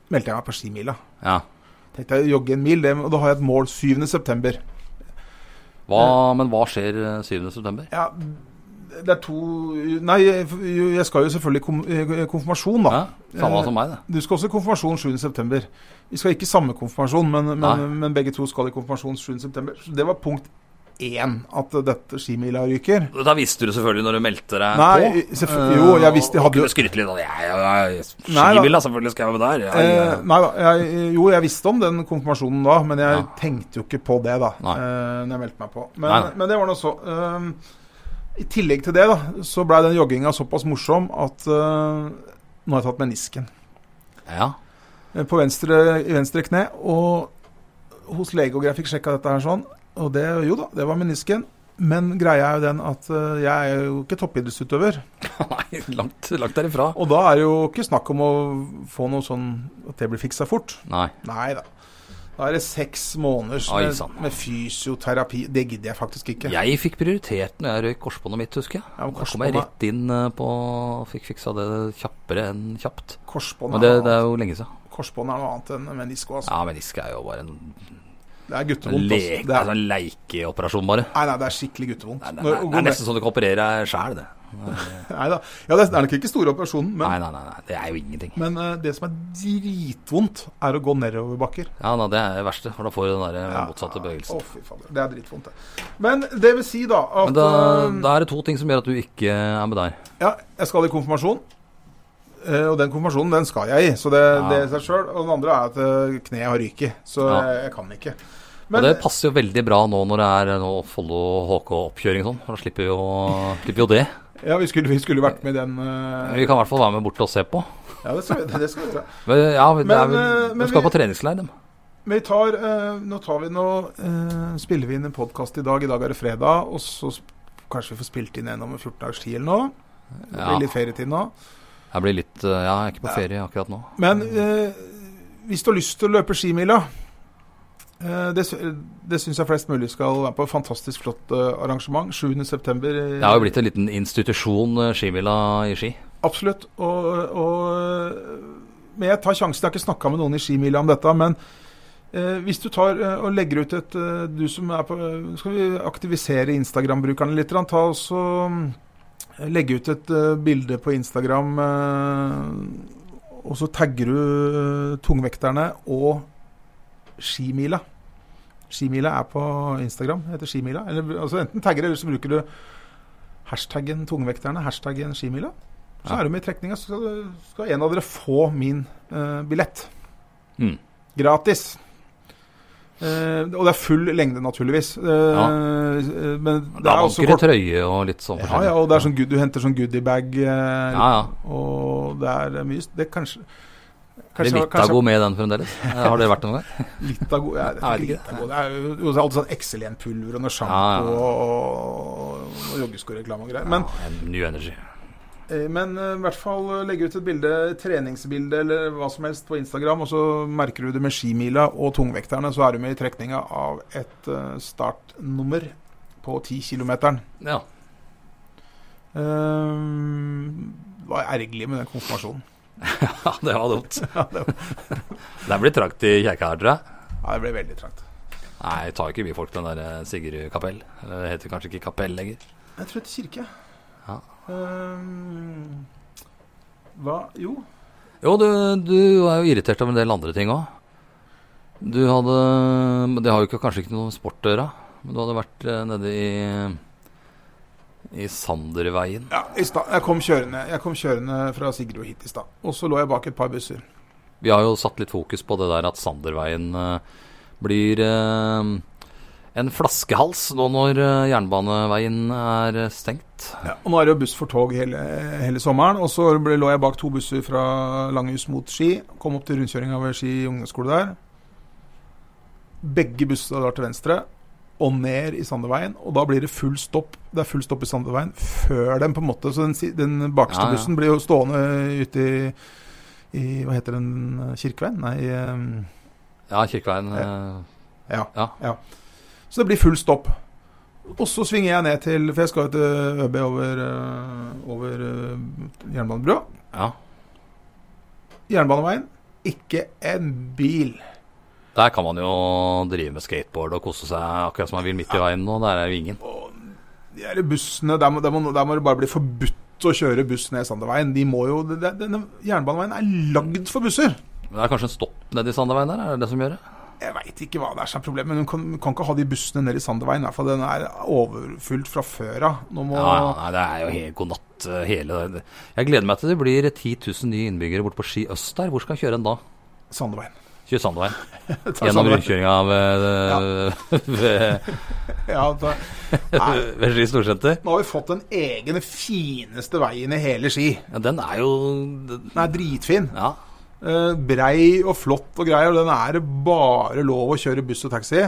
S3: meldte jeg meg på skimila.
S2: ja.
S3: Tenkte jeg jogge en mil, det, og da har jeg et mål 7.9.
S2: Hva, men hva skjer eh, 7. september?
S3: Ja, det er to Nei, jeg, jeg skal jo selvfølgelig kom, eh, konfirmasjon, da.
S2: Ja, samme som meg, det.
S3: Du skal også i konfirmasjon 7.9. Vi skal ikke i samme konfirmasjon, men, men,
S2: Nei.
S3: men begge to skal i konfirmasjon 7.9. Så det var punkt én, at dette skimila ryker.
S2: Da visste du selvfølgelig når du meldte deg
S3: Nei,
S2: på.
S3: selvfø- jo, jeg visste- jeg
S2: Og
S3: hadde jo-
S2: kunne skryte litt av det. Jeg, jeg, jeg,
S3: Nei da.
S2: skivilla, selvfølgelig skal jeg være der. Jeg,
S3: Eh,
S2: jeg,
S3: nei da, jeg, jo, jeg visste om den konfirmasjonen da, men jeg
S2: Ja.
S3: tenkte jo ikke på det da
S2: Nei.
S3: eh, Når jeg meldte meg på. Men,
S2: Nei, nei.
S3: men det var nå så. Ehm, I tillegg til det da, så blei den jogginga såpass morsom at eh, nå har jeg tatt menisken
S2: ja.
S3: Eh, på venstre, i venstre kne. Og hos lege og jeg fikk sjekka dette her sånn, og det jo da, det var menisken. Men greia er jo den at eh, jeg er jo ikke toppidrettsutøver.
S2: *laughs* Nei, langt, langt derifra.
S3: Og da er det jo ikke snakk om å få noe sånn at det blir fiksa fort.
S2: Nei.
S3: Nei da. Da er det seks måneder
S2: Oi, sånn.
S3: med,
S2: sann.
S3: med fysioterapi. Det gidder jeg faktisk ikke.
S2: Jeg fikk prioritert når jeg røyk korsbåndet mitt, husker jeg.
S3: Ja, men
S2: Da kom jeg
S3: korsbåndet-
S2: rett inn eh, på Fikk fiksa det kjappere enn kjapt. Men
S3: Korsbånd
S2: det, det
S3: er, noe
S2: er
S3: annet.
S2: jo lenge siden.
S3: korsbånd er noe annet enn menisko. Altså.
S2: Ja, menisk er jo bare en
S3: Det er guttevondt.
S2: leke,
S3: Altså. Det er,
S2: altså en leikeoperasjon, bare.
S3: nei, nei, det er skikkelig guttevondt.
S2: Nei, Det,
S3: Når-
S2: det,
S3: å
S2: det
S3: gå
S2: er
S3: med-
S2: nesten så du kan operere deg sjæl, det.
S3: Nei da. Ja, det er- det er nok ikke store operasjonen, men,
S2: Nei, nei, nei, nei, det er jo ingenting.
S3: men eh, det som er dritvondt, er å gå nedoverbakker.
S2: Ja, nei, Det er det verste, for da får du den der eh,
S3: Ja.
S2: motsatte
S3: Å,
S2: bevegelsen.
S3: fy fader. Det er dritvondt, det. Men det vil si, da, at
S2: Men da,
S3: eh,
S2: da er det to ting som gjør at du ikke er med der.
S3: Ja, jeg skal i konfirmasjon. Eh, Og den konfirmasjonen, den skal jeg i. Så det,
S2: Ja.
S3: det i seg sjøl. Og den andre er at eh, kneet har ryket. Så
S2: Ja.
S3: jeg, jeg kan ikke.
S2: Og
S3: Men
S2: det passer jo veldig bra nå når det er eh, nå Follo HK-oppkjøring og sånn. for Da slipper vi jo, slipper vi jo det.
S3: ja, vi skulle, vi skulle vært med i den. eh,
S2: Vi kan i hvert fall være med bort og se på.
S3: Ja, det skal, vi- det skal vi gjøre.
S2: Men, ja, men, det er
S3: Men, eh,
S2: vel,
S3: men
S2: de skal
S3: vi-
S2: på treningsleir, dem.
S3: Men vi tar eh, Nå tar vi nå eh, Spiller vi inn en podkast i dag. I dag er det fredag. Og så sp- kanskje vi får spilt inn en om en 14 dagers tid eller noe. Det blir
S2: Ja.
S3: litt ferietid nå.
S2: Jeg blir litt eh, Ja, jeg er ikke på ferie akkurat nå.
S3: Men eh, hvis du har lyst til å løpe skimila eh, Det, sy- det syns jeg flest mulig skal være på. Fantastisk flott eh, arrangement. eh, 7.9.
S2: Det har jo blitt en liten institusjon, eh, skimila i Ski.
S3: Absolutt. Og, og, men jeg tar sjansen. Jeg har ikke snakka med noen i skimila om dette. Men eh, hvis du tar eh, og legger ut et eh, Du som er på Nå skal vi aktivisere Instagram-brukerne litt. grann. Ta og så mm, Legge ut et eh, bilde på Instagram, eh, og så tagger du eh, tungvekterne og skimila. Skimila er på Instagram, heter skimila. Eller, altså enten tagger det, eller så bruker du hashtaggen tungvekterne, hashtaggen skimila. Så
S2: Ja.
S3: er du med i trekninga, så skal, du- skal en av dere få min eh, billett.
S2: Mm.
S3: Gratis. Eh, og det er full lengde, naturligvis. Eh, eh, Men det
S2: Da
S3: er også
S2: vanker det
S3: kort.
S2: trøye og litt sånn
S3: Ja, ja, og det er sånn, good- du henter sånn goodiebag. Eh,
S2: ja, ja.
S3: Og det er eh, mye s- Det er kanskje
S2: Blir Littago med i den fremdeles?
S3: *laughs*
S2: Eh, Har det vært noen gang?
S3: Litago Jeg, jeg,
S2: Jeg vet
S3: jeg
S2: ikke.
S3: Litago, det er jo jo, det er alltid sånn Excellent-pulver og noe sjampo
S2: Ja, ja.
S3: og, og joggeskoreklame og greier. Men,
S2: Ja, en New Energy.
S3: eh, men eh, i hvert fall eh, legge ut et bilde, treningsbilde eller hva som helst på Instagram, og så merker du det med skimila og tungvekterne, så er du med i trekninga av et eh, startnummer på 10 kilometeren.
S2: Ja. *laughs*
S3: Ehm, Det var ergerlig med den konfirmasjonen. *laughs*
S2: ja, det var dumt.
S3: Ja, det, var-
S2: Der blir trakt i kjerka her, tror jeg.
S3: ja, det ble veldig trangt.
S2: Nei, tar ikke mye folk den der eh, Sigurd Kapell. Eller Det heter kanskje ikke Kapell lenger.
S3: Jeg tror det er kirke.
S2: Ja.
S3: Ehm, hva Jo.
S2: Jo, du, du er jo irritert av en del andre ting òg. Du hadde men Det har jo ikke, kanskje ikke noe sport å gjøre, men du hadde vært eh, nede i i Sanderveien.
S3: Ja, i stad. Jeg kom kjørende, jeg kom kjørende fra Sigrud hit i stad. Og så lå jeg bak et par busser.
S2: Vi har jo satt litt fokus på det der at Sanderveien eh, blir eh, en flaskehals nå når eh, jernbaneveien er eh, stengt.
S3: Og nå er det jo buss for tog hele, hele sommeren. Og så ble, lå jeg bak to busser fra Langhus mot Ski. Kom opp til rundkjøringa ved Ski ungdomsskole der. Begge bussene drar til venstre og ned i Sanderveien. Og da blir det full stopp Det er full stopp i Sanderveien før dem, på en måte. Så den, si- den bakste
S2: Ja, ja.
S3: bussen blir jo stående ute i, i Hva heter den? Kirkeveien? Nei. ehm,
S2: Ja, Kirkeveien. eh,
S3: Ja.
S2: Ja.
S3: Så det blir full stopp. Og så svinger jeg ned til For jeg skal jo til ØB over, eh, over eh, jernbanebrua.
S2: Ja.
S3: Jernbaneveien. Ikke en bil.
S2: Der kan man jo drive med skateboard og kose seg akkurat som man vil midt i veien nå. Der er jo ingen.
S3: De der bussene Der må, der må, der må det bare bli forbudt å kjøre buss ned Sanderveien. De må jo, det- det- denne jernbaneveien er lagd for busser.
S2: Men Det er kanskje en stopp nede i Sanderveien der, er det det som gjør det?
S3: Jeg veit ikke hva det er som er problemet, men du kan, kan ikke ha de bussene ned i Sanderveien. der, For den er overfylt fra før av. Nå må
S2: Ja, ja, nei, det er jo helt god natt eh, hele det- Jeg gleder meg til det blir 10 000 nye innbyggere borte på Ski øst der. Hvor skal han kjøre en da?
S3: Sanderveien. *laughs*
S2: Kjøre Sanderveien.
S3: Ta
S2: Gjennom
S3: Sanderveien.
S2: rundkjøringa ved, *laughs* ved,
S3: Ja, ta- Nei.
S2: ved Ski storsenter.
S3: Nå har vi fått den egne fineste veien i hele Ski.
S2: Ja, den er jo den-
S3: Den er dritfin.
S2: Ja.
S3: Eh, brei og flott og greier. Og den er det bare lov å kjøre buss og taxi.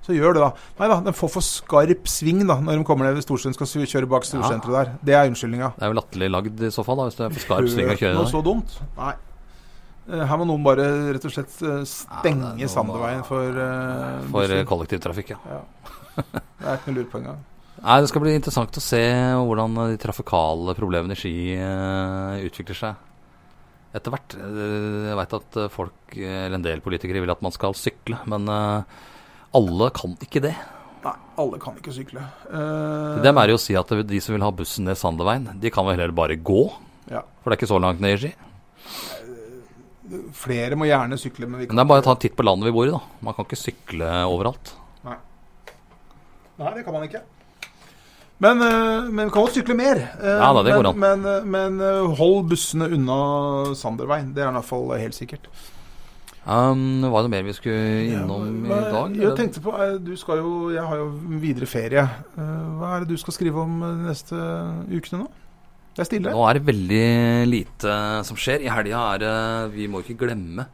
S3: Så gjør det, da. Nei da, den får for skarp sving da når de kommer ned ved Storsund skal su- kjøre bak storsenteret der. Det er unnskyldninga.
S2: Det er jo latterlig lagd i så fall, da, hvis det er for skarp sving å kjøre
S3: Noe
S2: der.
S3: så dumt? Nei. Eh, Her må noen bare rett og slett eh,
S2: Ja,
S3: stenge
S2: det er noe-
S3: Sanderveien for eh,
S2: For eh,
S3: busser.
S2: kollektivtrafikk, ja.
S3: ja. Det er ikke noe lurt på engang.
S2: Nei, Det skal bli interessant å se hvordan de trafikale problemene i Ski eh, utvikler seg etter hvert. Eh, Jeg veit at eh, folk, eh, eller en del politikere, vil at man skal sykle, men eh, alle kan ikke det.
S3: Nei, alle kan ikke sykle.
S2: Til
S3: Eh,
S2: dem er det jo å si at de som vil ha bussen ned Sanderveien, de kan vel heller bare gå?
S3: Ja.
S2: For det er ikke så langt ned i Ski.
S3: Flere må gjerne sykle, men vi kan
S2: Men det er bare å ta en titt på landet vi bor i, da. Man kan ikke sykle overalt.
S3: Nei, det kan man ikke. Men, eh, men vi kan godt sykle mer. Eh,
S2: Ja da, det går
S3: men,
S2: an.
S3: Men, eh, men eh, hold bussene unna Sanderveien. Det er i hvert fall helt sikkert.
S2: Um, var det noe mer vi skulle innom i
S3: Hva-
S2: dag?
S3: Jeg
S2: eller?
S3: tenkte på, eh, du skal jo, jeg har jo videre ferie. Eh, Hva er det du skal skrive om eh, de neste ukene nå? Det er stille.
S2: Nå er det veldig lite som skjer. I helga er det Vi må ikke glemme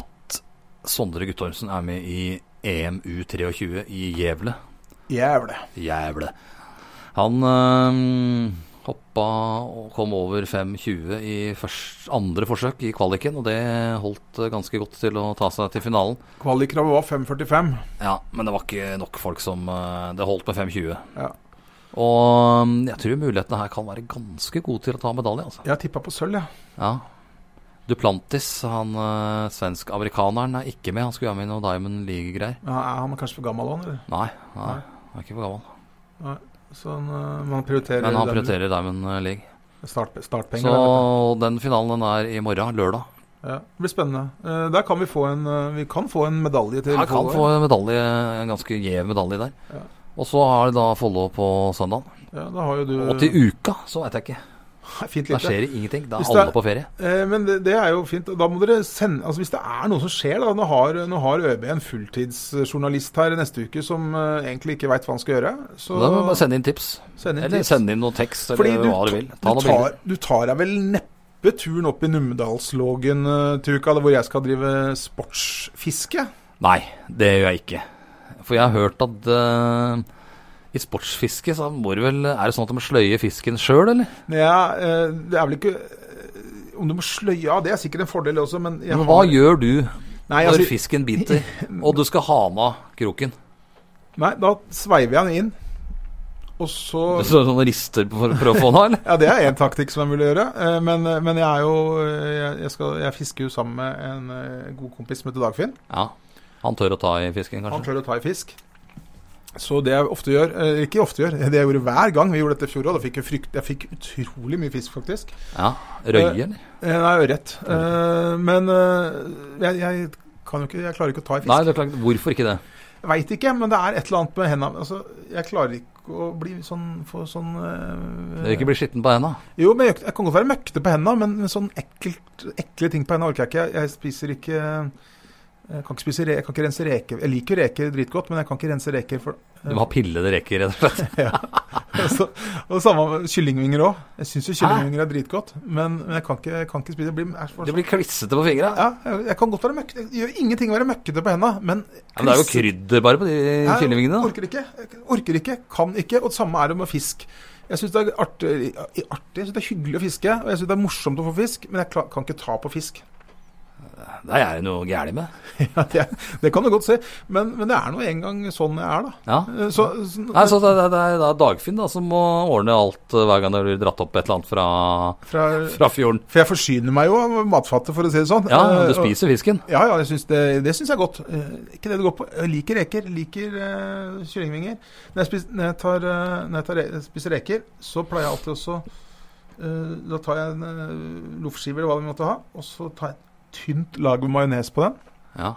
S2: at Sondre Guttormsen er med i EMU 23 i Gjævle.
S3: Jævlig.
S2: Jævle. Han øhm, hoppa og kom over 5,20 i først, andre forsøk i kvaliken, og det holdt øh, ganske godt til å ta seg til finalen.
S3: Kvalikkravet var 5,45.
S2: Ja, men det var ikke nok folk som eh, Det holdt med 5,20.
S3: Ja.
S2: Og mm, jeg tror mulighetene her kan være ganske gode til å ta medalje, altså.
S3: Jeg har tippa på sølv, jeg.
S2: Ja. Duplantis, han eh, svensk-amerikaneren, er ikke med. Han skulle være med i noe Diamond League-greier.
S3: Ja. Er han kanskje for gammel, han? eller?
S2: Nei, nei,
S3: Nei.
S2: han er ikke for gammel.
S3: Så han, eh, man prioriterer,
S2: Men han
S3: den-
S2: prioriterer Diamond eh, League.
S3: Start, startpenger.
S2: Så
S3: der, vet du.
S2: den finalen den er i morgen, lørdag.
S3: Ja, det blir spennende. Eh, Der kan vi få en, eh, vi kan få en medalje til
S2: Han kan
S3: Follo.
S2: få en medalje, en ganske gjev medalje der.
S3: Ja.
S2: Og så har det da Follo på søndag.
S3: Ja, da har jo du
S2: Og til uka så veit jeg ikke.
S3: *laughs* Fint
S2: Da
S3: lite.
S2: skjer det ingenting. Da
S3: Hvis
S2: er
S3: det er-
S2: alle på ferie.
S3: Eh, Men det, det er jo fint. Da må dere sende Altså Hvis det er noe som skjer, da Nå har, nå har ØB en fulltidsjournalist her neste uke som eh, egentlig ikke veit hva han skal gjøre. Så
S2: Så da må du bare sende inn tips.
S3: send inn
S2: Eller
S3: tips.
S2: sende inn noe tekst, eller
S3: Fordi du,
S2: hva du vil.
S3: ta-
S2: Ta
S3: du,
S2: noen bilder.
S3: tar, du tar deg vel neppe turen opp i Numedalslågen eh, til uka, hvor jeg skal drive sportsfiske?
S2: Nei, det gjør jeg ikke. For jeg har hørt at eh, i sportsfiske så må du vel Er det sånn at de sløyer fisken sjøl, eller?
S3: Men jeg, eh, det er vel ikke eh, Om du må sløye av, det er sikkert en fordel også, men jeg
S2: Men hva
S3: har-
S2: gjør du
S3: Nei,
S2: når
S3: altså,
S2: fisken
S3: *laughs*
S2: biter, og du skal ha med kroken?
S3: nei, da sveiver jeg den inn, og så
S2: Du står sånn og rister på- for å prøve å få den av, eller?
S3: Ja, det er én taktikk som er mulig å gjøre. eh, Men, men jeg er jo eh, jeg, jeg, skal, jeg fisker jo sammen med en eh, god kompis som heter Dagfinn.
S2: Ja. Han tør å ta i fisken,
S3: Han
S2: kanskje?
S3: klarer å ta i fisk. Så det jeg ofte gjør eh, Ikke ofte gjør, *laughs* det jeg gjorde hver gang vi gjorde dette i fjor òg, da fikk jeg, frykt, jeg fikk utrolig mye fisk, faktisk.
S2: Ja. Røye, eller?
S3: Eh, Nei, ørret. Eh, Men eh, jeg, jeg kan jo ikke Jeg klarer ikke å ta i
S2: Nei,
S3: fisk.
S2: det er klart. Hvorfor ikke det?
S3: Jeg Veit ikke, men det er et eller annet med henda altså, Jeg klarer ikke å bli sånn, få sånn
S2: Det
S3: eh,
S2: vil ikke bli skitten på henda.
S3: Jo, men jeg, jeg kan godt være møkkete på henda, men men sånn ekkelt, ekle ting på henda orker jeg ikke. Jeg, jeg spiser ikke eh, jeg kan ikke, spise re, jeg kan ikke rense reker. Jeg liker reker dritgodt, men jeg kan ikke rense reker. For, *laughs*
S2: Du må ha pillede reker, rett og slett.
S3: så, og samme med kyllingvinger òg. Jeg syns jo
S2: Hæ?
S3: kyllingvinger er dritgodt, men, men jeg kan ikke, jeg kan ikke spise det. Blir, er for,
S2: Det blir klissete på fingra.
S3: ja, jeg, jeg kan godt være møkkete. Det gjør ingenting å være møkkete på henda, men
S2: Ja, men det er jo krydder bare på de
S3: Jeg
S2: Eh, kyllingvingene. da.
S3: Orker ikke, jeg orker ikke, kan ikke. Og det samme er det med fisk. Jeg syns det er artig, artig, jeg synes det er hyggelig å fiske, og jeg syns det er morsomt å få fisk, men jeg kla- kan ikke ta på fisk.
S2: Det er det noe gærent med.
S3: Ja, det, det kan du godt si, men, men det er nå engang sånn jeg er, da.
S2: Ja.
S3: Eh, Så, så,
S2: Nei, så det, det, det er da Dagfinn da, som må ordne alt eh, hver gang det blir dratt opp et eller annet fra,
S3: fra,
S2: fra fjorden.
S3: for jeg forsyner meg jo av matfatet, for å si det sånn.
S2: Ja,
S3: Eh,
S2: du
S3: og-
S2: spiser fisken.
S3: Ja, ja, jeg synes det, det syns jeg er godt. Eh, Ikke det det går på. Jeg liker reker, liker eh, kyllingvinger. Når jeg, spiser, når jeg, tar, eh, når jeg tar, re- spiser reker, så pleier jeg alltid også eh, Da tar jeg en eh, loffskive eller hva vi måtte ha, og så tar jeg et tynt lag med majones på den.
S2: Ja.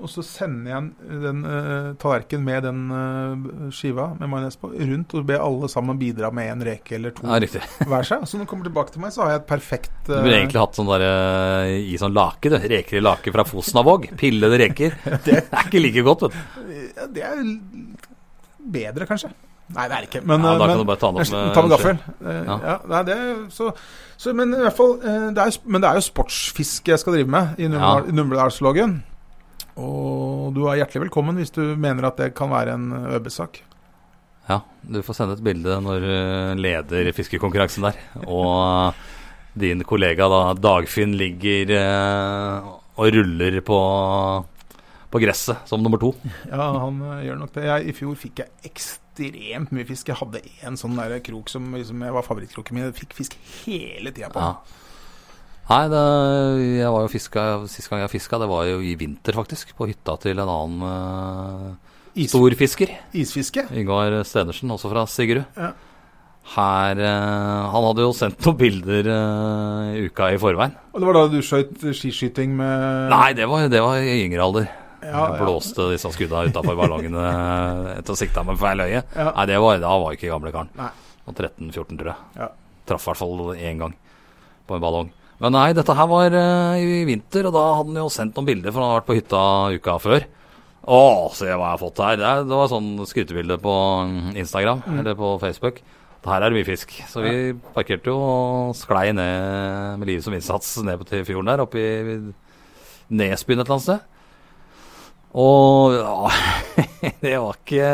S3: Og så sender jeg en- den eh, tallerkenen med den eh, skiva med majones på rundt og ber alle sammen bidra med en reke eller to
S2: ja, riktig.
S3: hver seg. Så når de kommer tilbake til meg, så har jeg et perfekt
S2: Du
S3: eh,
S2: burde egentlig hatt sånn der, eh, i sånn lake, du. Reker i lake fra Fosnavåg. Pillede reker. *laughs* Det er ikke like godt, vet du.
S3: eh, Ja, det er bedre, kanskje. Nei, det er det ikke. Men, eh,
S2: Ja, da
S3: men
S2: kan du bare ta den opp med,
S3: ta med gaffel. Eh,
S2: Ja.
S3: Ja, nei, det, er- så, så, men i hvert fall eh, det er, jo sp- Men det er jo sportsfiske jeg skal drive med i
S2: Ja.
S3: Numedal- i Numedalslågen. Og du er hjertelig velkommen hvis du mener at det kan være en eh, ØB-sak.
S2: Ja, du får sende et bilde når du leder fiskekonkurransen der. Og eh, din kollega da, Dagfinn ligger eh, og ruller på, på gresset som nummer to.
S3: Ja, han eh, gjør nok det. Jeg, I fjor fikk jeg ekstremt mye fisk. Jeg hadde en sånn der krok som liksom, jeg var favorittkroken min. Jeg fikk fisk hele tida på.
S2: Ja. Nei, det, jeg var jo fiska Sist gang jeg fiska, det var jo i vinter, faktisk. På hytta til en annen eh,
S3: Is,
S2: stor fisker.
S3: isfiske.
S2: Yngvar Stenersen, også fra Sigrud.
S3: Ja.
S2: Her eh, Han hadde jo sendt noen bilder eh, i uka i forveien.
S3: Og det var da du skøyt skiskyting med
S2: Nei, det var, det var i yngre alder.
S3: Ja,
S2: jeg
S3: ja.
S2: blåste disse skudda utafor ballongene etter å sikta med feil øye.
S3: Ja.
S2: Nei, det var, da var jeg ikke gamle karen.
S3: Nei.
S2: Og 13-14, tror jeg.
S3: Ja.
S2: Traff i hvert fall én gang på en ballong. Men nei, dette her var eh, i vinter, og da hadde han jo sendt noen bilder, for han hadde vært på hytta uka før. Å, se hva jeg har fått her. Det, er, det var sånn skrytebilde på mm, Instagram eller på Facebook. Her er det mye fisk. Så vi parkerte jo og sklei ned med livet som innsats ned på- til fjorden der, oppe i Nesbyen et eller annet sted. Og ja, *laughs* det var ikke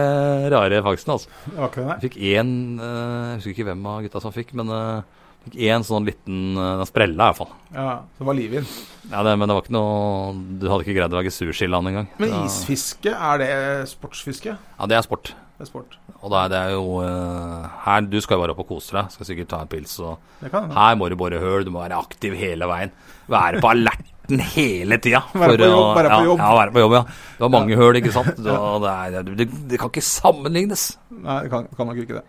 S2: rare fangsten, altså.
S3: Det var ikke det, nei.
S2: Jeg fikk én eh, Jeg husker ikke hvem av gutta som fikk, men eh, jeg fikk én sånn liten eh, Den sprella i hvert fall.
S3: Ja, det var liv i den.
S2: Ja, det, men det var ikke noe Du hadde ikke greid å lage sushiland engang.
S3: Men
S2: Ja.
S3: isfiske, er det sportsfiske?
S2: Ja, det er sport.
S3: Det er sport.
S2: Og det er, det er jo eh, Her, du skal jo bare opp og kose deg. Skal sikkert ta en pils og
S3: Det kan hende.
S2: Her må du bore høl, du må være aktiv hele veien. Være på alerten hele tida.
S3: *laughs* Være
S2: for
S3: på
S2: å-
S3: jobb, være på jobb.
S2: Ja, ja, være på jobb, ja. Du har mange høl, ikke sant. Du, det, er, det, det, det kan ikke sammenlignes.
S3: Nei, det kan, kan nok ikke det.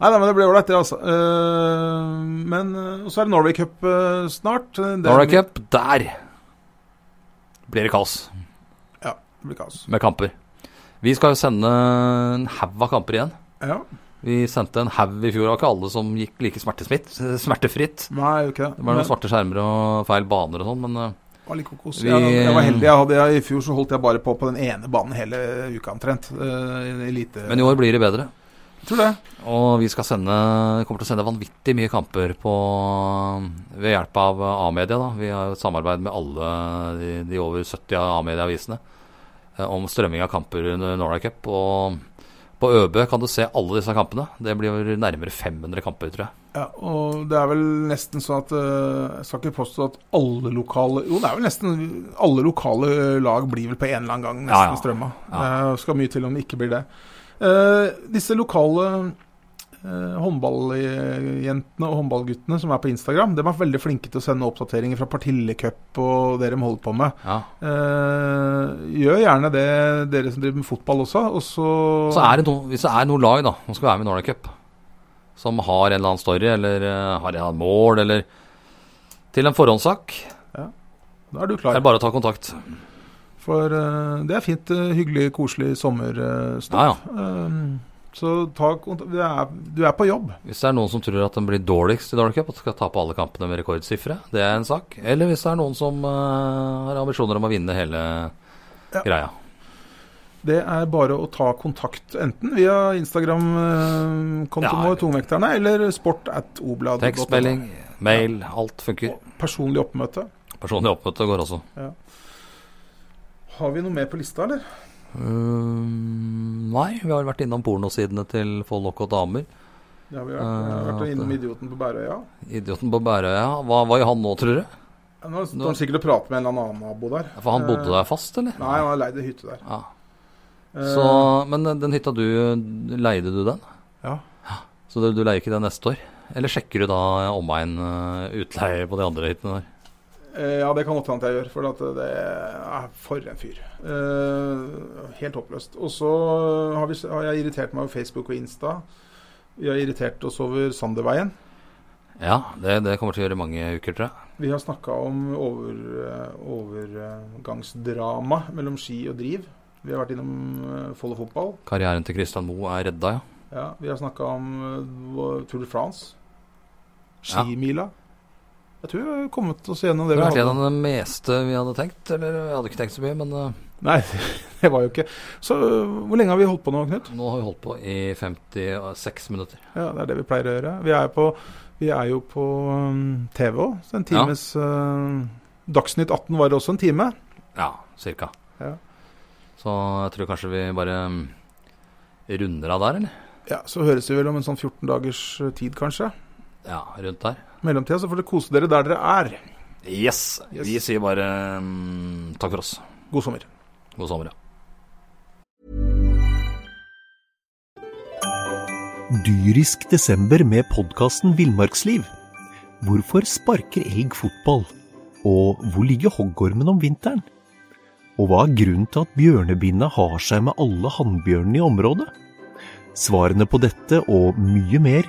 S3: Nei, nei, men det blir ålreit, det, altså. Eh, men eh, Og så er det Norway Cup eh, snart. Eh, Det
S2: Norway Cup, der blir det kaos
S3: Ja, det blir kaos.
S2: med kamper. Vi skal jo sende en haug av kamper igjen.
S3: Ja.
S2: Vi sendte en haug i fjor. Det var ikke alle som gikk like smertesmitt, smertefritt.
S3: Nei, jeg gjør ikke det.
S2: Det var noen svarte skjermer og feil baner og sånn, men eh,
S3: Det var like kokos.
S2: Vi-
S3: Jeg, jeg var heldig. Jeg hadde, jeg, I fjor så holdt jeg bare på på den ene banen hele uka omtrent. Eh, elite.
S2: men i år blir det bedre.
S3: Tror det.
S2: Og vi skal sende, kommer til å sende vanvittig mye kamper på, ved hjelp av A-media. da. Vi har jo et samarbeid med alle de, de over 70 A-medieavisene eh, om strømming av kamper under Norway Cup. Og på ØB kan du se alle disse kampene. Det blir nærmere 500 kamper, tror jeg.
S3: Ja, og det er vel nesten sånn at eh, Jeg skal ikke påstå at alle lokale Jo, det er vel nesten alle lokale eh, lag blir vel på en eller annen gang nesten
S2: Ja, ja.
S3: strømma.
S2: Ja.
S3: Det skal mye til om det ikke blir det. Eh, disse lokale eh, håndballjentene og håndballguttene som er på Instagram, de er veldig flinke til å sende oppdateringer fra Partillecup og det de holder på med.
S2: Ja.
S3: Eh, gjør gjerne det, dere som driver med fotball også. Og så,
S2: Så er det noe, hvis det er noen lag da, som skal være med i Norway Cup, som har en eller annen story, eller eh, har en eller annen mål, eller til en forhåndssak,
S3: da er du
S2: så er
S3: klar.
S2: det bare å ta kontakt.
S3: For eh, det er fint. eh, hyggelig, koselig sommerstopp.
S2: Ja, ja.
S3: Eh, så ta kontakt du, er- du er på jobb.
S2: Hvis det er noen som tror at den blir dårligst i Norway Cup, at den skal tape alle kampene med rekordsifre, det er en sak. Eller hvis det er noen som eh, har ambisjoner om å vinne hele
S3: Ja.
S2: greia.
S3: Det er bare å ta kontakt enten via Instagram-kontoen
S2: Ja,
S3: vår, Tungvekterne, eller sport at oblad.no.
S2: Tekstmelding, mail, alt funker.
S3: Personlig oppmøte.
S2: Personlig oppmøte går også.
S3: Har vi noe mer på lista, eller?
S2: Mm, nei, vi har vært innom pornosidene til Folk og damer.
S3: Det har vi vært,
S2: Eh,
S3: uh, vært innom Idioten på Bærøya.
S2: Idioten på Bærøya, hva var jo han nå, tror du?
S3: Ja, Nå står han sikkert og prater med en eller annen nabo der.
S2: For han bodde
S3: Eh,
S2: der fast, eller?
S3: Nei, han har leid ei hytte der.
S2: Ja.
S3: Eh,
S2: Så, men den hytta du leide du den?
S3: Ja.
S2: Så du, du leier ikke den neste år? Eller sjekker du da omegn eh, utleie på de andre hyttene der?
S3: Eh, Ja, det kan godt hende at jeg gjør, for at det er for en fyr. Eh, helt håpløst. Og så har, vi, har jeg irritert meg over Facebook og Insta. Vi har irritert oss over Sanderveien.
S2: Ja, det, det kommer til å gjøre mange uker, tror jeg.
S3: Vi har snakka om over, eh, overgangsdrama mellom ski og driv. Vi har vært innom eh, Follo fotball.
S2: Karrieren til Christian Moe er redda, ja.
S3: Ja, vi har snakka om eh, Tour de France. Skimila. Jeg tror vi har kommet oss gjennom
S2: Det
S3: det
S2: var
S3: vi
S2: egentlig
S3: hadde.
S2: en av det meste vi hadde tenkt. Eller vi hadde ikke tenkt så mye, men eh,
S3: Nei, *laughs* det var jo ikke Så eh, hvor lenge har vi holdt på nå, Knut?
S2: nå har vi holdt på i 56 minutter.
S3: Ja, det er det vi pleier å gjøre. Vi er, på, vi er jo på um, TV òg. så En
S2: Ja.
S3: times uh, Dagsnytt 18 varer også en time.
S2: Ja, cirka.
S3: Ja.
S2: Så jeg tror kanskje vi bare mm, runder av der, eller?
S3: Ja, Så høres vi vel om en sånn 14 dagers uh, tid, kanskje.
S2: Ja, rundt der.
S3: I mellomtida så får dere kose dere der dere er.
S2: Yes.
S3: Yes.
S2: Vi sier bare mm, takk for oss.
S3: God sommer.
S2: God sommer. ja.
S4: Dyrisk desember med podkasten Villmarksliv. Hvorfor sparker elg fotball? Og hvor ligger hoggormen om vinteren? Og hva er grunnen til at bjørnebinna har seg med alle hannbjørnene i området? Svarene på dette og mye mer